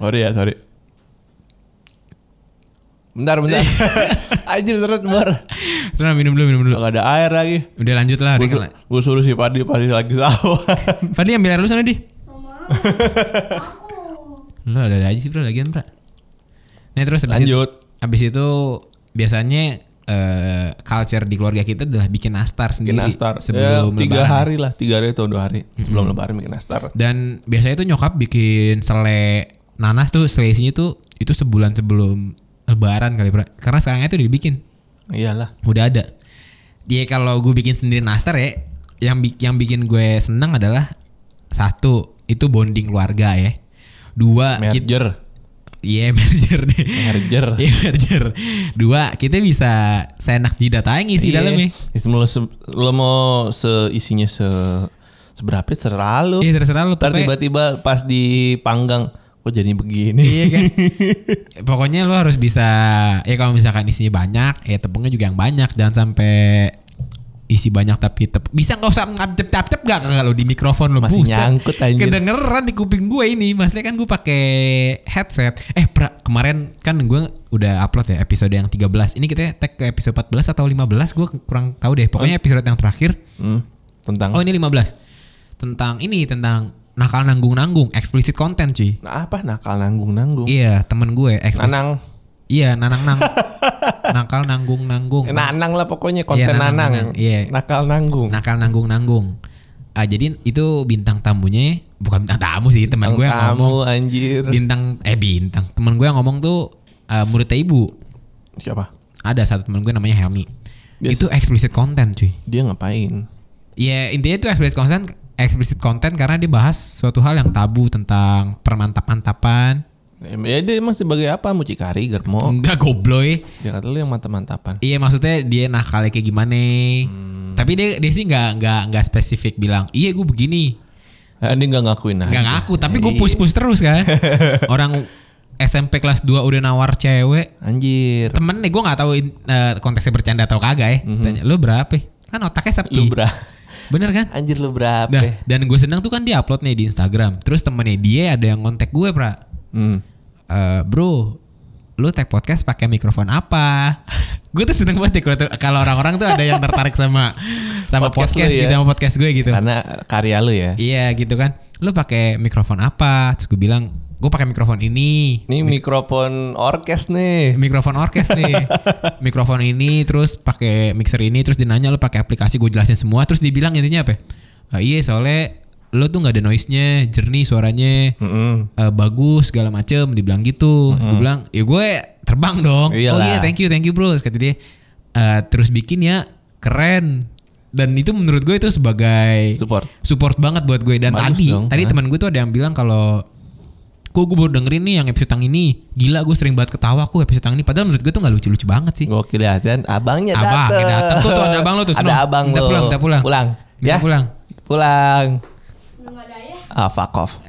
[SPEAKER 2] Sorry ya, sorry. Bentar, bentar. Anjir seret bar.
[SPEAKER 1] Tenang minum dulu minum dulu
[SPEAKER 2] Gak ada air lagi.
[SPEAKER 1] udah lanjut lah
[SPEAKER 2] Gue
[SPEAKER 1] Rick.
[SPEAKER 2] su- gue suruh si Padi, Padi lagi sahur.
[SPEAKER 1] Fadli ambil air lu sana di
[SPEAKER 3] Aku.
[SPEAKER 1] Lu ada aja sih bro lagian pra Nah terus abis itu,
[SPEAKER 2] Lanjut.
[SPEAKER 1] abis itu biasanya eh, culture di keluarga kita adalah bikin nastar
[SPEAKER 2] Bikin
[SPEAKER 1] sendiri
[SPEAKER 2] nastar. Ya,
[SPEAKER 1] sebelum
[SPEAKER 2] tiga
[SPEAKER 1] lebaran.
[SPEAKER 2] hari lah, tiga hari atau dua hari sebelum lebaran bikin nastar.
[SPEAKER 1] Dan biasanya tuh nyokap bikin sele nanas tuh sele isinya tuh itu sebulan sebelum lebaran kali pra. Karena sekarang itu udah dibikin,
[SPEAKER 2] Iyalah.
[SPEAKER 1] udah ada. Dia kalau gue bikin sendiri nastar ya, yang bi- yang bikin gue seneng adalah satu itu bonding keluarga ya. Dua kita
[SPEAKER 2] Merger.
[SPEAKER 1] Iya merger deh.
[SPEAKER 2] Merger.
[SPEAKER 1] Iya merger. Dua kita bisa seenak jidat aja ngisi
[SPEAKER 2] Iya.
[SPEAKER 1] dalamnya.
[SPEAKER 2] Isi- Lo, se- lo mau seisinya se seberapa serah lo.
[SPEAKER 1] Iya terserah lu
[SPEAKER 2] Ntar
[SPEAKER 1] pokoknya-
[SPEAKER 2] tiba-tiba pas dipanggang, kok jadinya begini?
[SPEAKER 1] Iya kan. Pokoknya lu harus bisa ya kalau misalkan isinya banyak, ya tepungnya juga yang banyak jangan sampai isi banyak tapi tep bisa nggak usah ngacep cap gak kalau di mikrofon lu
[SPEAKER 2] Masih
[SPEAKER 1] Buset.
[SPEAKER 2] nyangkut, anjir.
[SPEAKER 1] kedengeran di kuping gue ini maksudnya kan gue pakai headset eh pra kemarin kan gue udah upload ya episode yang 13 ini kita tag ke episode 14 atau 15 gue kurang tahu deh
[SPEAKER 2] Oh.
[SPEAKER 1] pokoknya episode yang terakhir
[SPEAKER 2] Hmm, tentang.
[SPEAKER 1] oh ini 15 tentang ini tentang nakal nanggung nanggung explicit content cuy
[SPEAKER 2] Nah apa nakal nanggung nanggung?
[SPEAKER 1] Iya temen gue explicit
[SPEAKER 2] Nanang,
[SPEAKER 1] Iya, nanang nang. Nakal nanggung nanggung.
[SPEAKER 2] Eh, nanang lah pokoknya
[SPEAKER 1] Iya,
[SPEAKER 2] konten
[SPEAKER 1] nanang,
[SPEAKER 2] nanang.
[SPEAKER 1] nanang. Iya.
[SPEAKER 2] Nakal nanggung.
[SPEAKER 1] Nakal nanggung nanggung. Ah, jadi itu bintang tamunya bukan bintang tamu sih, teman gue yang ngomong.
[SPEAKER 2] kamu anjir.
[SPEAKER 1] Bintang eh bintang. Teman gue yang ngomong tuh eh, muridnya ibu.
[SPEAKER 2] Siapa?
[SPEAKER 1] Ada satu teman gue namanya Helmi.
[SPEAKER 2] Biasa.
[SPEAKER 1] Itu explicit content, cuy.
[SPEAKER 2] Dia ngapain?
[SPEAKER 1] Ya, intinya itu explicit content explicit content karena dia bahas suatu hal yang tabu tentang permantap-mantapan.
[SPEAKER 2] Ya dia emang sebagai apa? Mucikari, germo.
[SPEAKER 1] Enggak gobloy.
[SPEAKER 2] Dia kata lu yang mantap-mantapan.
[SPEAKER 1] Iya maksudnya dia nakalnya kayak gimana. Tapi dia dia sih nggak nggak nggak spesifik bilang iya gue begini.
[SPEAKER 2] Eh, dia nggak ngakuin aja.
[SPEAKER 1] Nggak ngaku tapi gue push push terus kan. Orang SMP kelas 2 udah nawar cewek.
[SPEAKER 2] Anjir.
[SPEAKER 1] Temen nih gue nggak tahu eh, konteksnya bercanda atau kagak ya. Tanya lu berapa? ya?" Kan otaknya sepi.
[SPEAKER 2] Lu ya? bra.
[SPEAKER 1] Bener kan?
[SPEAKER 2] Anjir lu berapa?
[SPEAKER 1] Nah, dan gue seneng tuh kan dia upload nih di Instagram. Terus temennya dia ada yang kontak gue pra.
[SPEAKER 2] Hmm.
[SPEAKER 1] Eh, bro lu tag podcast pakai mikrofon apa gue tuh seneng banget ya kalau tuh- kalau orang-orang tuh ada yang tertarik sama sama podcast,
[SPEAKER 2] Podcast lu ya.
[SPEAKER 1] gitu sama podcast gue gitu
[SPEAKER 2] Karena karya lu ya.
[SPEAKER 1] iya gitu kan lu pakai mikrofon apa terus gue bilang gue pakai mikrofon ini
[SPEAKER 2] Ini mikrofon orkes nih.
[SPEAKER 1] mikrofon orkes nih mikrofon ini terus pakai mixer ini terus dia nanya lu pakai aplikasi gue jelasin semua terus dibilang intinya apa ya? "Ah, iya soalnya lu tuh nggak ada noise-nya jernih suaranya
[SPEAKER 2] Mm-mm.
[SPEAKER 1] eh, bagus segala macem dibilang gitu terus gue bilang ya gue terbang dong oh
[SPEAKER 2] Iyalah.
[SPEAKER 1] iya thank you thank you bro terus kata dia "Eh, terus bikin ya keren dan itu menurut gue itu sebagai
[SPEAKER 2] Support.
[SPEAKER 1] support banget buat gue dan
[SPEAKER 2] Bagus
[SPEAKER 1] tadi
[SPEAKER 2] dong. ah.
[SPEAKER 1] tadi
[SPEAKER 2] Hah?
[SPEAKER 1] teman gue tuh ada yang bilang kalau kok gue baru dengerin nih yang episode yang ini gila gue sering banget ketawa aku episode yang ini padahal menurut gue tuh nggak lucu-lucu banget sih
[SPEAKER 2] Gue kelihatan ya, abangnya dateng.
[SPEAKER 1] abang ya dateng tuh tuh ada abang lo tuh
[SPEAKER 2] Ada
[SPEAKER 1] sono.
[SPEAKER 2] abang
[SPEAKER 1] minta
[SPEAKER 2] lo.
[SPEAKER 1] pulang minta pulang
[SPEAKER 2] Pulang.
[SPEAKER 1] minta
[SPEAKER 2] Ya?
[SPEAKER 1] pulang
[SPEAKER 2] Pulang.
[SPEAKER 3] Belum ada ya.
[SPEAKER 2] Ah fuck off.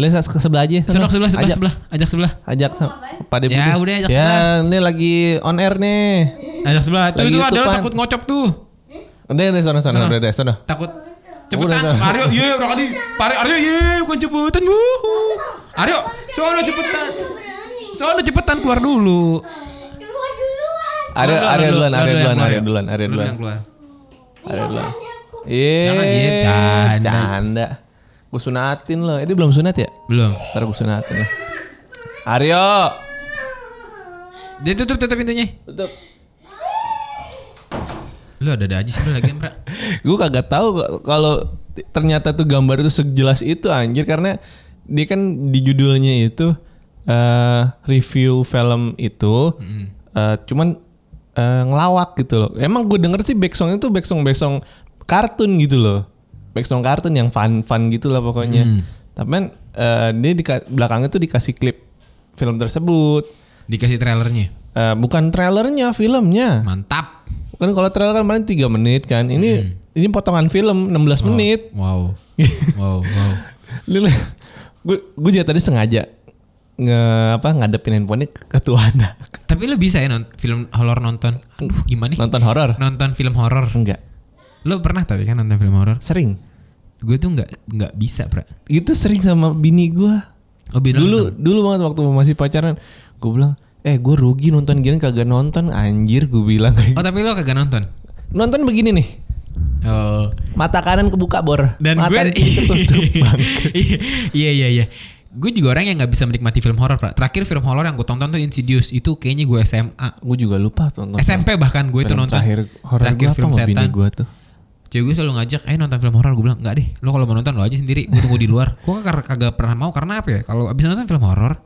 [SPEAKER 2] Lu ke sebelah aja. sono.
[SPEAKER 1] Sono, sebelah sebelah
[SPEAKER 2] Ajak-
[SPEAKER 1] sebelah ajak sebelah
[SPEAKER 2] Ajak sama Pak Deputi.
[SPEAKER 1] Ya, udah, ajak
[SPEAKER 2] Ya,
[SPEAKER 1] sebelah.
[SPEAKER 2] ini lagi on air nih.
[SPEAKER 1] ajak sebelah tuh
[SPEAKER 2] Lagi
[SPEAKER 1] itu ada lo
[SPEAKER 2] tutupan.
[SPEAKER 1] takut ngocok tuh
[SPEAKER 2] Udah, udah sana sana
[SPEAKER 1] Sono.
[SPEAKER 2] udah udah sana.
[SPEAKER 1] takut
[SPEAKER 2] Udah,
[SPEAKER 1] cepetan
[SPEAKER 2] udah.
[SPEAKER 1] Aryo iya, ye orang iya, tadi Pak Aryo Aryo ye bukan cepetan wuhu Aryo soalnya cepetan
[SPEAKER 3] Aku berani.
[SPEAKER 1] Soalnya cepetan keluar dulu.
[SPEAKER 3] Keluar duluan.
[SPEAKER 2] Ada
[SPEAKER 1] Lu- lu-
[SPEAKER 2] ada
[SPEAKER 1] lu-
[SPEAKER 2] duluan,
[SPEAKER 1] lu-
[SPEAKER 2] ada
[SPEAKER 1] lu yang
[SPEAKER 2] duluan,
[SPEAKER 1] keluar
[SPEAKER 2] ada
[SPEAKER 1] ya?
[SPEAKER 2] duluan, ada
[SPEAKER 1] Lu
[SPEAKER 2] duluan.
[SPEAKER 1] yang keluar.
[SPEAKER 2] Ada duluan.
[SPEAKER 3] Aku
[SPEAKER 1] Jangan, iya,
[SPEAKER 2] Iya,
[SPEAKER 1] canda.
[SPEAKER 2] canda. Gue sunatin loh. Eh, dia belum sunat ya?
[SPEAKER 1] Belum.
[SPEAKER 2] Ntar gue sunatin lah. Aryo,
[SPEAKER 1] Dia tutup tutup pintunya.
[SPEAKER 2] tutup.
[SPEAKER 1] Lu ada ada aja sih lu lagi Pra.
[SPEAKER 2] gue kagak tahu kok kalau t- ternyata tuh gambar itu sejelas itu anjir karena dia kan di judulnya itu eh, review film itu eh, cuman eh, ngelawak gitu loh emang gue denger sih backsong itu backsong backsong kartun gitu loh backsong kartun yang fun fun gitu lah pokoknya tapi kan eh, dia di belakangnya tuh dikasih klip film tersebut
[SPEAKER 1] Dikasih trailernya.
[SPEAKER 2] Eh, bukan trailernya filmnya
[SPEAKER 1] Mantap.
[SPEAKER 2] Kan kalau trailer kan paling 3 menit kan.
[SPEAKER 1] Hmm.
[SPEAKER 2] Ini ini potongan film
[SPEAKER 1] Oh.
[SPEAKER 2] 16 menit.
[SPEAKER 1] Wow. Wow, wow.
[SPEAKER 2] gue gue juga tadi sengaja nge apa ngadepin handphonenya ke, ke tuh anak.
[SPEAKER 1] Tapi lu bisa ya nonton film horor nonton. Aduh, gimana nih?
[SPEAKER 2] Nonton horor?
[SPEAKER 1] Nonton film horor.
[SPEAKER 2] Enggak.
[SPEAKER 1] Lu pernah tapi kan nonton film horor?
[SPEAKER 2] Sering.
[SPEAKER 1] Gue tuh nggak nggak bisa, Pra.
[SPEAKER 2] Itu sering sama bini gue.
[SPEAKER 1] Oh, Bino
[SPEAKER 2] Dulu dulu banget waktu masih pacaran, gue bilang, "Eh, gue rugi nonton gini kagak nonton anjir," gue bilang kayak gitu.
[SPEAKER 1] Oh, tapi lu kagak nonton.
[SPEAKER 2] Nonton begini nih.
[SPEAKER 1] Oh.
[SPEAKER 2] Mata kanan kebuka bor.
[SPEAKER 1] Dan
[SPEAKER 2] Mata
[SPEAKER 1] gue
[SPEAKER 2] kiri ketutup, Bang.
[SPEAKER 1] Iya iya iya. Gue juga orang yang nggak bisa menikmati film horor, Pra. Terakhir film horor yang gue tonton tuh Insidious. Itu kayaknya gue SMA.
[SPEAKER 2] Gue juga lupa tuh nonton.
[SPEAKER 1] SMP bahkan gue itu
[SPEAKER 2] Film
[SPEAKER 1] nonton.
[SPEAKER 2] terakhir horor
[SPEAKER 1] Terakhir
[SPEAKER 2] gue apa
[SPEAKER 1] film
[SPEAKER 2] sama bini
[SPEAKER 1] setan.
[SPEAKER 2] gue tuh.
[SPEAKER 1] Cewek gue selalu ngajak, eh nonton film horor. Gue bilang, enggak deh. Lo kalau mau nonton lo aja sendiri. Gue tunggu di luar. Gue kagak, kagak pernah mau. Karena apa ya? Kalau abis nonton film horor,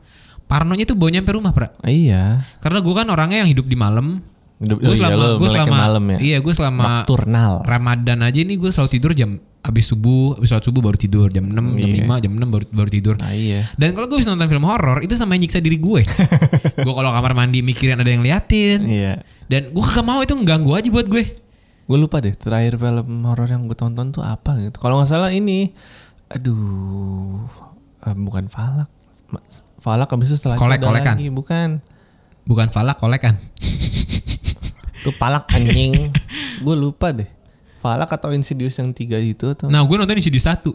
[SPEAKER 1] parnonya tuh bawa nyampe rumah, Pra.
[SPEAKER 2] Iya.
[SPEAKER 1] Karena gue kan orangnya yang hidup di malam.
[SPEAKER 2] Hidup-
[SPEAKER 1] Gue
[SPEAKER 2] oh iya,
[SPEAKER 1] selama,
[SPEAKER 2] lo
[SPEAKER 1] gue
[SPEAKER 2] melek
[SPEAKER 1] selama,
[SPEAKER 2] malam ya.
[SPEAKER 1] iya gue selama
[SPEAKER 2] Nocturnal.
[SPEAKER 1] Ramadan aja nih gue selalu tidur jam abis subuh, abis sholat subuh baru tidur jam 6,
[SPEAKER 2] Iya.
[SPEAKER 1] jam 5, jam 6 baru baru tidur.
[SPEAKER 2] Nah, iya.
[SPEAKER 1] Dan kalau gue bisa nonton film horor itu sama yang nyiksa diri gue. gue kalau kamar mandi mikirin ada yang liatin.
[SPEAKER 2] Iya.
[SPEAKER 1] Dan gue kagak mau itu ganggu aja buat gue.
[SPEAKER 2] Gue lupa deh terakhir film horor yang gue tonton tuh apa gitu. Kalau nggak salah ini, aduh, eh, bukan Falak. Ma- Falak abis itu setelah itu
[SPEAKER 1] Kolek,
[SPEAKER 2] ada
[SPEAKER 1] kolekan.
[SPEAKER 2] lagi, bukan.
[SPEAKER 1] Bukan falak kolek kan.
[SPEAKER 2] Tuh Palak anjing. gue lupa deh. Falak atau Insidious yang tiga itu tuh.
[SPEAKER 1] Nah gue nonton di studio satu.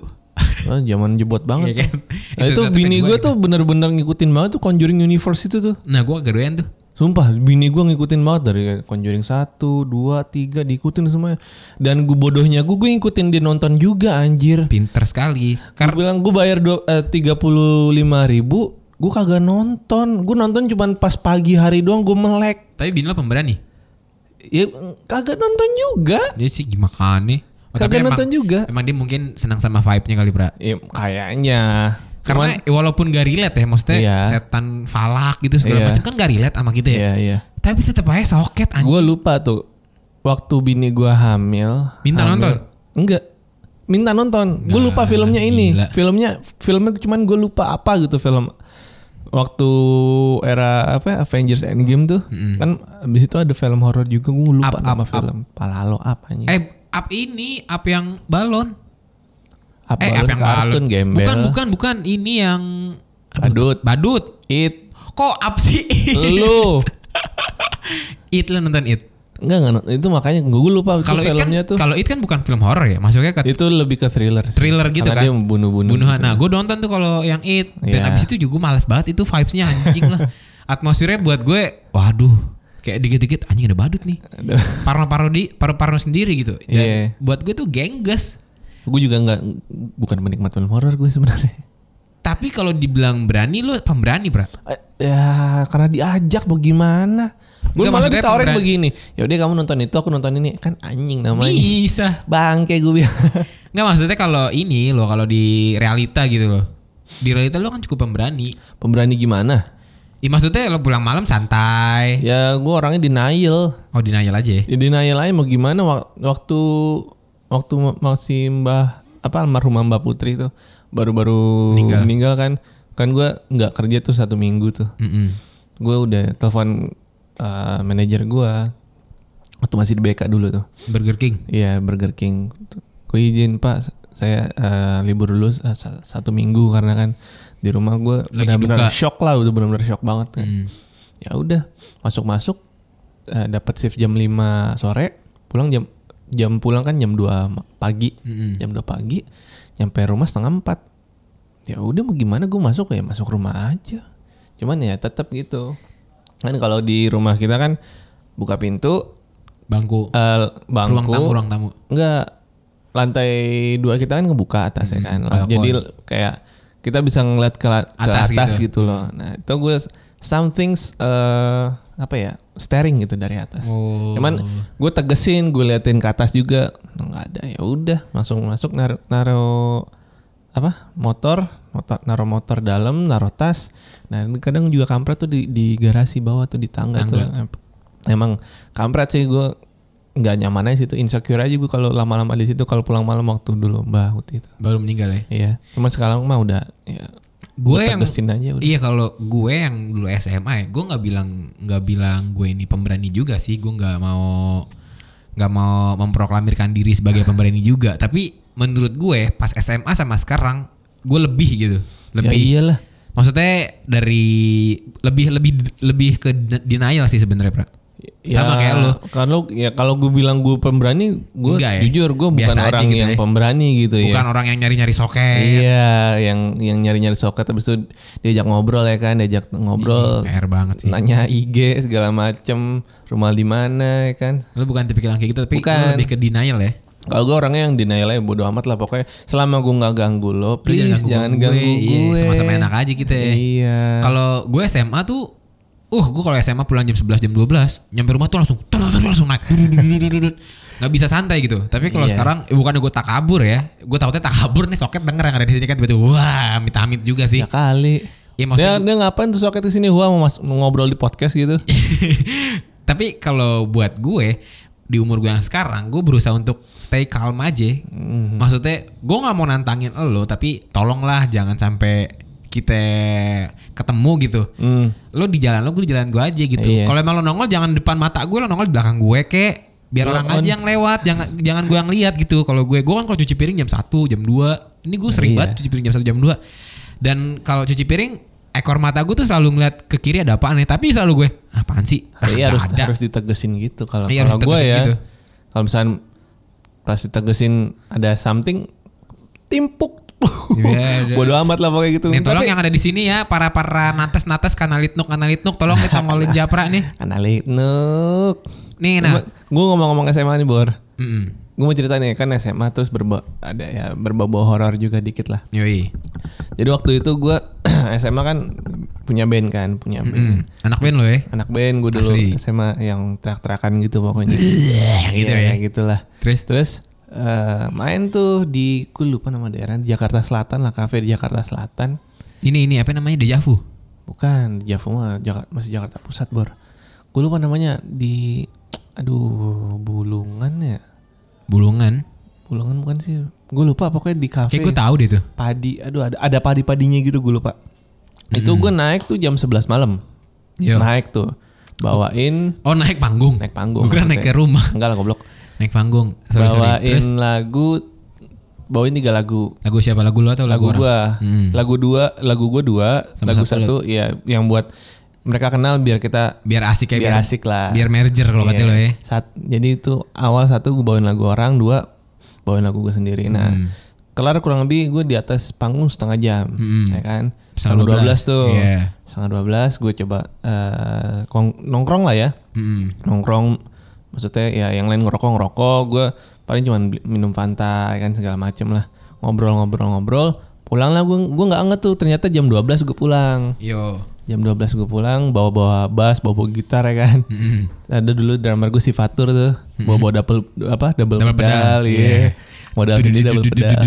[SPEAKER 2] Oh, zaman jebot banget.
[SPEAKER 1] Iya kan?
[SPEAKER 2] tuh. Nah,
[SPEAKER 1] Itu
[SPEAKER 2] itu
[SPEAKER 1] satu
[SPEAKER 2] bini
[SPEAKER 1] kedua
[SPEAKER 2] gue
[SPEAKER 1] gitu.
[SPEAKER 2] tuh bener-bener ngikutin banget tuh Conjuring Universe itu tuh.
[SPEAKER 1] Nah gue kagak doyan tuh.
[SPEAKER 2] Sumpah, bini gue ngikutin banget dari Conjuring 1, 2, 3 diikutin semuanya. Dan gue bodohnya gue, gue ngikutin dia nonton juga anjir.
[SPEAKER 1] Pinter sekali.
[SPEAKER 2] Karena bilang gue bayar eh, tiga puluh ribu, gue kagak nonton. Gue nonton cuman pas pagi hari doang gue melek.
[SPEAKER 1] Tapi bini lo pemberani.
[SPEAKER 2] Ya kagak nonton juga.
[SPEAKER 1] Dia sih gimana? Oh, tapi
[SPEAKER 2] kagak
[SPEAKER 1] emang-
[SPEAKER 2] nonton juga.
[SPEAKER 1] Emang dia mungkin senang sama vibe-nya kali, Bra.
[SPEAKER 2] Ya, kayaknya.
[SPEAKER 1] Karena walaupun gak relate ya, maksudnya
[SPEAKER 2] Iya.
[SPEAKER 1] setan falak gitu segala
[SPEAKER 2] Iya.
[SPEAKER 1] macam kan gak relate sama kita ya.
[SPEAKER 2] Iya, iya.
[SPEAKER 1] Tapi tetap aja soket anjing.
[SPEAKER 2] Gue lupa tuh waktu bini gue hamil.
[SPEAKER 1] Minta
[SPEAKER 2] hamil-
[SPEAKER 1] nonton?
[SPEAKER 2] Enggak. Minta nonton. Gue
[SPEAKER 1] Nah,
[SPEAKER 2] lupa filmnya ini.
[SPEAKER 1] gila.
[SPEAKER 2] Filmnya filmnya cuman gue lupa apa gitu film. Waktu era apa ya, Avengers Endgame tuh kan abis itu ada film horor juga gue lupa
[SPEAKER 1] Up,
[SPEAKER 2] nama
[SPEAKER 1] up,
[SPEAKER 2] film. Palalo apa anjing?
[SPEAKER 1] Eh, up ini, up yang balon.
[SPEAKER 2] Apa
[SPEAKER 1] eh, up yang
[SPEAKER 2] kartun
[SPEAKER 1] balon.
[SPEAKER 2] gembel.
[SPEAKER 1] Bukan, bukan, bukan. Ini yang
[SPEAKER 2] Badut.
[SPEAKER 1] badut.
[SPEAKER 2] It.
[SPEAKER 1] Kok up sih?
[SPEAKER 2] Lu.
[SPEAKER 1] it lo nonton it.
[SPEAKER 2] Enggak enggak nonton. itu makanya gue lupa Oh, itu
[SPEAKER 1] Kalau it kan,
[SPEAKER 2] filmnya tuh.
[SPEAKER 1] kalau it kan bukan film horor ya. Masuknya ke
[SPEAKER 2] Itu lebih ke thriller. sih.
[SPEAKER 1] Thriller gitu
[SPEAKER 2] Karena
[SPEAKER 1] kan?
[SPEAKER 2] Dia bunuh-bunuh.
[SPEAKER 1] bunuhan.
[SPEAKER 2] gitu.
[SPEAKER 1] Nah, gue nonton tuh kalau yang it dan
[SPEAKER 2] Iya.
[SPEAKER 1] abis itu juga gue malas banget itu vibes-nya anjing lah. Atmosfernya buat gue, waduh, kayak dikit-dikit anjing ada badut nih. Parno-parno di, parno-parno sendiri gitu. Dan
[SPEAKER 2] Iya.
[SPEAKER 1] buat gue tuh gengges.
[SPEAKER 2] gue juga nggak bukan menikmat film horor gue sebenarnya
[SPEAKER 1] Tapi kalau dibilang berani lo pemberani, Bra.
[SPEAKER 2] Eh, ya karena diajak bagaimana gue
[SPEAKER 1] Nggak,
[SPEAKER 2] malah
[SPEAKER 1] maksudnya
[SPEAKER 2] ditawarin
[SPEAKER 1] pemberani.
[SPEAKER 2] begini yaudah kamu nonton itu aku nonton ini kan anjing namanya
[SPEAKER 1] Bisa.
[SPEAKER 2] bangke gue bilang
[SPEAKER 1] Nggak maksudnya kalau ini lo kalau di realita gitu loh. Di realita lo kan cukup pemberani.
[SPEAKER 2] pemberani gimana
[SPEAKER 1] Ya, maksudnya lo pulang malam santai.
[SPEAKER 2] ya gue orangnya denial
[SPEAKER 1] Oh, denial aja ya.
[SPEAKER 2] ya denial aja mau gimana wak- waktu waktu ma- masih mbah apa almarhumah mbah putri tuh baru-baru
[SPEAKER 1] Meninggal.
[SPEAKER 2] meninggal. kan kan gue nggak kerja tuh satu minggu tuh
[SPEAKER 1] Mm-mm.
[SPEAKER 2] gue udah telepon eh, manajer gue waktu masih di BK dulu tuh
[SPEAKER 1] Burger King.
[SPEAKER 2] Iya Burger King. Gue izin Pak, saya eh, libur dulu sa- sa- satu minggu karena kan di rumah gue
[SPEAKER 1] Lagi
[SPEAKER 2] benar-benar
[SPEAKER 1] duka.
[SPEAKER 2] shock lah, udah benar-benar shock banget. Kan.
[SPEAKER 1] Hmm.
[SPEAKER 2] Ya udah masuk-masuk, eh, dapat shift jam 5 sore, pulang jam jam pulang kan jam 2 ma- pagi,
[SPEAKER 1] Mm-mm.
[SPEAKER 2] jam 2 pagi, nyampe rumah setengah 4 Ya udah mau gimana gue masuk ya masuk rumah aja. Cuman ya tetap gitu. Kan kalau di rumah kita kan buka pintu,
[SPEAKER 1] Bangku,
[SPEAKER 2] eh, bangku,
[SPEAKER 1] ruang tamu, ruang tamu.
[SPEAKER 2] Enggak. Lantai dua kita kan ngebuka atas ya kan.
[SPEAKER 1] balkon.
[SPEAKER 2] Jadi l- kayak kita bisa ngeliat ke, la- ke
[SPEAKER 1] hmm. Atas
[SPEAKER 2] atas,
[SPEAKER 1] gitu.
[SPEAKER 2] gitu. loh. Nah, itu gue s- something's eh, apa ya? staring gitu dari atas.
[SPEAKER 1] Oh.
[SPEAKER 2] Cuman gue tegesin, gue liatin ke atas juga nggak ada. Ya udah, langsung masuk nar- naro apa? motor, motor naro motor dalam, naro tas. Nah, ini kadang juga kampret tuh di, di garasi bawah tuh di tangga, tuh.
[SPEAKER 1] Tangga.
[SPEAKER 2] Em- Emang kampret sih gue nggak nyaman aja situ, insecure aja gue kalau lama-lama di situ kalau pulang malam waktu dulu Mbak Uti itu.
[SPEAKER 1] baru meninggal ya.
[SPEAKER 2] Iya, cuman sekarang mah udah ya
[SPEAKER 1] Gue yang
[SPEAKER 2] tegesin aja udah.
[SPEAKER 1] Iya kalau gue yang dulu SMA, ya, gue nggak bilang nggak bilang gue ini pemberani juga sih. Gue nggak mau nggak mau memproklamirkan diri sebagai pemberani juga. Tapi menurut gue pas SMA sama sekarang gue lebih gitu,
[SPEAKER 2] Ya
[SPEAKER 1] lebih.
[SPEAKER 2] iyalah.
[SPEAKER 1] Maksudnya dari lebih lebih lebih ke denial sih sebenarnya, Pra.
[SPEAKER 2] Iya.
[SPEAKER 1] Sama kayak lo.
[SPEAKER 2] Kalau ya kalau gue bilang gue pemberani, gue
[SPEAKER 1] Enggak ya?
[SPEAKER 2] jujur gue bukan
[SPEAKER 1] Biasa aja
[SPEAKER 2] orang
[SPEAKER 1] gitu
[SPEAKER 2] yang
[SPEAKER 1] ya.
[SPEAKER 2] pemberani gitu ya.
[SPEAKER 1] Bukan orang yang nyari-nyari soket.
[SPEAKER 2] Iya, yang yang nyari-nyari soket habis itu diajak ngobrol ya kan, diajak ngobrol,
[SPEAKER 1] PR banget Iya, sih.
[SPEAKER 2] nanya IG segala macem, rumah di mana ya kan.
[SPEAKER 1] Lu bukan tipikal yang kayak gitu, tapi lu
[SPEAKER 2] Bukan.
[SPEAKER 1] lebih ke denial ya.
[SPEAKER 2] Kalau gue orangnya yang denial aja bodo amat lah pokoknya selama gue nggak ganggu lo,
[SPEAKER 1] Lu
[SPEAKER 2] please jangan ganggu,
[SPEAKER 1] Iya,
[SPEAKER 2] gue.
[SPEAKER 1] sama-sama enak aja kita ya.
[SPEAKER 2] Iya.
[SPEAKER 1] Kalau gue SMA tuh Uh, gue kalau SMA pulang jam 11 jam 12, nyampe rumah tuh langsung tur, tur, tur, langsung naik. Dudut, dudut, dudut, dudut. Nggak bisa santai gitu. Tapi kalau
[SPEAKER 2] Iya.
[SPEAKER 1] sekarang eh, bukan gue tak kabur ya. Gue takutnya tak kabur nih soket denger yang ada di sini kan tiba-tiba wah amit-amit juga sih.
[SPEAKER 2] Ya
[SPEAKER 1] Ya,
[SPEAKER 2] kali. dia,
[SPEAKER 1] Iya. maksudnya
[SPEAKER 2] dia ngapain tuh soket kesini Wah mau, mas- mau ngobrol di podcast gitu.
[SPEAKER 1] Iya. Tapi kalau buat gue di umur gue yang sekarang gue berusaha untuk stay calm aja. Maksudnya gue nggak mau nantangin lo tapi tolonglah jangan sampai kita ketemu gitu.
[SPEAKER 2] Hmm.
[SPEAKER 1] Lo di jalan lo gue di jalan gue aja gitu.
[SPEAKER 2] Iya.
[SPEAKER 1] Kalau emang lo nongol jangan depan mata gue lo nongol di belakang gue kek biar
[SPEAKER 2] Lo
[SPEAKER 1] orang
[SPEAKER 2] on.
[SPEAKER 1] aja yang lewat jangan jangan gue yang lihat gitu kalau gue gue kan kalau cuci piring jam 1 jam 2 ini gue sering
[SPEAKER 2] Iya.
[SPEAKER 1] banget cuci piring jam 1 jam 2 dan kalau cuci piring ekor mata gue tuh selalu ngeliat ke kiri ada apaan ya tapi selalu gue apaan sih Ah,
[SPEAKER 2] Iya
[SPEAKER 1] nggak
[SPEAKER 2] harus
[SPEAKER 1] ada.
[SPEAKER 2] harus ditegesin gitu kalau
[SPEAKER 1] Iya, harus
[SPEAKER 2] kalau gue
[SPEAKER 1] ditegesin
[SPEAKER 2] ya.
[SPEAKER 1] gitu.
[SPEAKER 2] Kalau misalnya pas ditegesin ada something timpuk.
[SPEAKER 1] Iya,
[SPEAKER 2] Bodoh amat lah pakai gitu.
[SPEAKER 1] Nih tolong
[SPEAKER 2] Tapi-
[SPEAKER 1] yang ada di sini ya para para nates nates kanalitnuk kanalitnuk tolong kita ngolin japra nih.
[SPEAKER 2] Analit nuk.
[SPEAKER 1] Nih nah.
[SPEAKER 2] Gue ngomong-ngomong SMA nih Bor.
[SPEAKER 1] Mm-mm.
[SPEAKER 2] Gue mau cerita nih kan SMA terus berba ada ya berbau horor juga dikit lah.
[SPEAKER 1] Yoi.
[SPEAKER 2] Jadi waktu itu gue SMA kan punya band kan punya band.
[SPEAKER 1] Mm. Anak band lo ya.
[SPEAKER 2] Anak band gue dulu
[SPEAKER 1] Asli.
[SPEAKER 2] SMA yang teriak-teriakan gitu pokoknya.
[SPEAKER 1] gitu
[SPEAKER 2] Iya,
[SPEAKER 1] ya.
[SPEAKER 2] kayak gitulah.
[SPEAKER 1] Terus
[SPEAKER 2] Terus eh, main tuh di gue lupa nama daerah di Jakarta Selatan lah kafe di Jakarta Selatan.
[SPEAKER 1] ini ini apa namanya Dejavu.
[SPEAKER 2] Bukan di Java mah Jaka- masih Jakarta Pusat bor. Gue lupa namanya di aduh Bulungan ya.
[SPEAKER 1] Bulungan.
[SPEAKER 2] Bulungan bukan sih. Gue lupa pokoknya di kafe
[SPEAKER 1] Kayak gue tahu deh tuh.
[SPEAKER 2] padi. Aduh ada ada padi-padinya gitu gue lupa. Itu
[SPEAKER 1] Hmm.
[SPEAKER 2] gue naik tuh jam 11 malam.
[SPEAKER 1] Yo.
[SPEAKER 2] Naik tuh bawain
[SPEAKER 1] Oh naik panggung.
[SPEAKER 2] naik panggung.
[SPEAKER 1] Gue kira naik ke
[SPEAKER 2] maksudnya.
[SPEAKER 1] rumah.
[SPEAKER 2] Enggak lah goblok.
[SPEAKER 1] Naik panggung. Sorry
[SPEAKER 2] bawain
[SPEAKER 1] sorry. Terus
[SPEAKER 2] lagu bawain tiga lagu.
[SPEAKER 1] lagu siapa? Lagu lu atau lagu, orang?
[SPEAKER 2] lagu gua
[SPEAKER 1] Hmm.
[SPEAKER 2] lagu dua lagu gua dua
[SPEAKER 1] Sama
[SPEAKER 2] lagu
[SPEAKER 1] satu
[SPEAKER 2] satu ya yang buat mereka kenal biar kita
[SPEAKER 1] Biar asik ya
[SPEAKER 2] biar,
[SPEAKER 1] biar,
[SPEAKER 2] asik lah
[SPEAKER 1] biar merger kalau kata
[SPEAKER 2] Iya.
[SPEAKER 1] lo ya.
[SPEAKER 2] Sat- jadi itu awal satu gue bawain lagu orang dua bawain lagu gue sendiri nah
[SPEAKER 1] Hmm.
[SPEAKER 2] kelar kurang lebih gue di atas panggung setengah jam
[SPEAKER 1] Mm-mm.
[SPEAKER 2] ya kan
[SPEAKER 1] Hmm. Setengah
[SPEAKER 2] setengah dua belas tuh
[SPEAKER 1] Iya.
[SPEAKER 2] setengah dua belas gue coba eh, kong- nongkrong lah ya
[SPEAKER 1] Mm.
[SPEAKER 2] nongkrong maksudnya ya yang lain ngerokok ngerokok gue paling cuman beli- minum fanta ya kan segala macem lah ngobrol ngobrol ngobrol pulang lah gue gue nggak anget tuh ternyata jam 12 gue pulang
[SPEAKER 1] Yo.
[SPEAKER 2] jam 12 gue pulang bawa bawa bass bawa bawa gitar ya kan
[SPEAKER 1] Mm-mm.
[SPEAKER 2] ada dulu drummer gue si Fatur tuh bawa bawa double apa double,
[SPEAKER 1] Double pedal,
[SPEAKER 2] pedal,
[SPEAKER 1] iya.
[SPEAKER 2] iya modal sendiri double pedal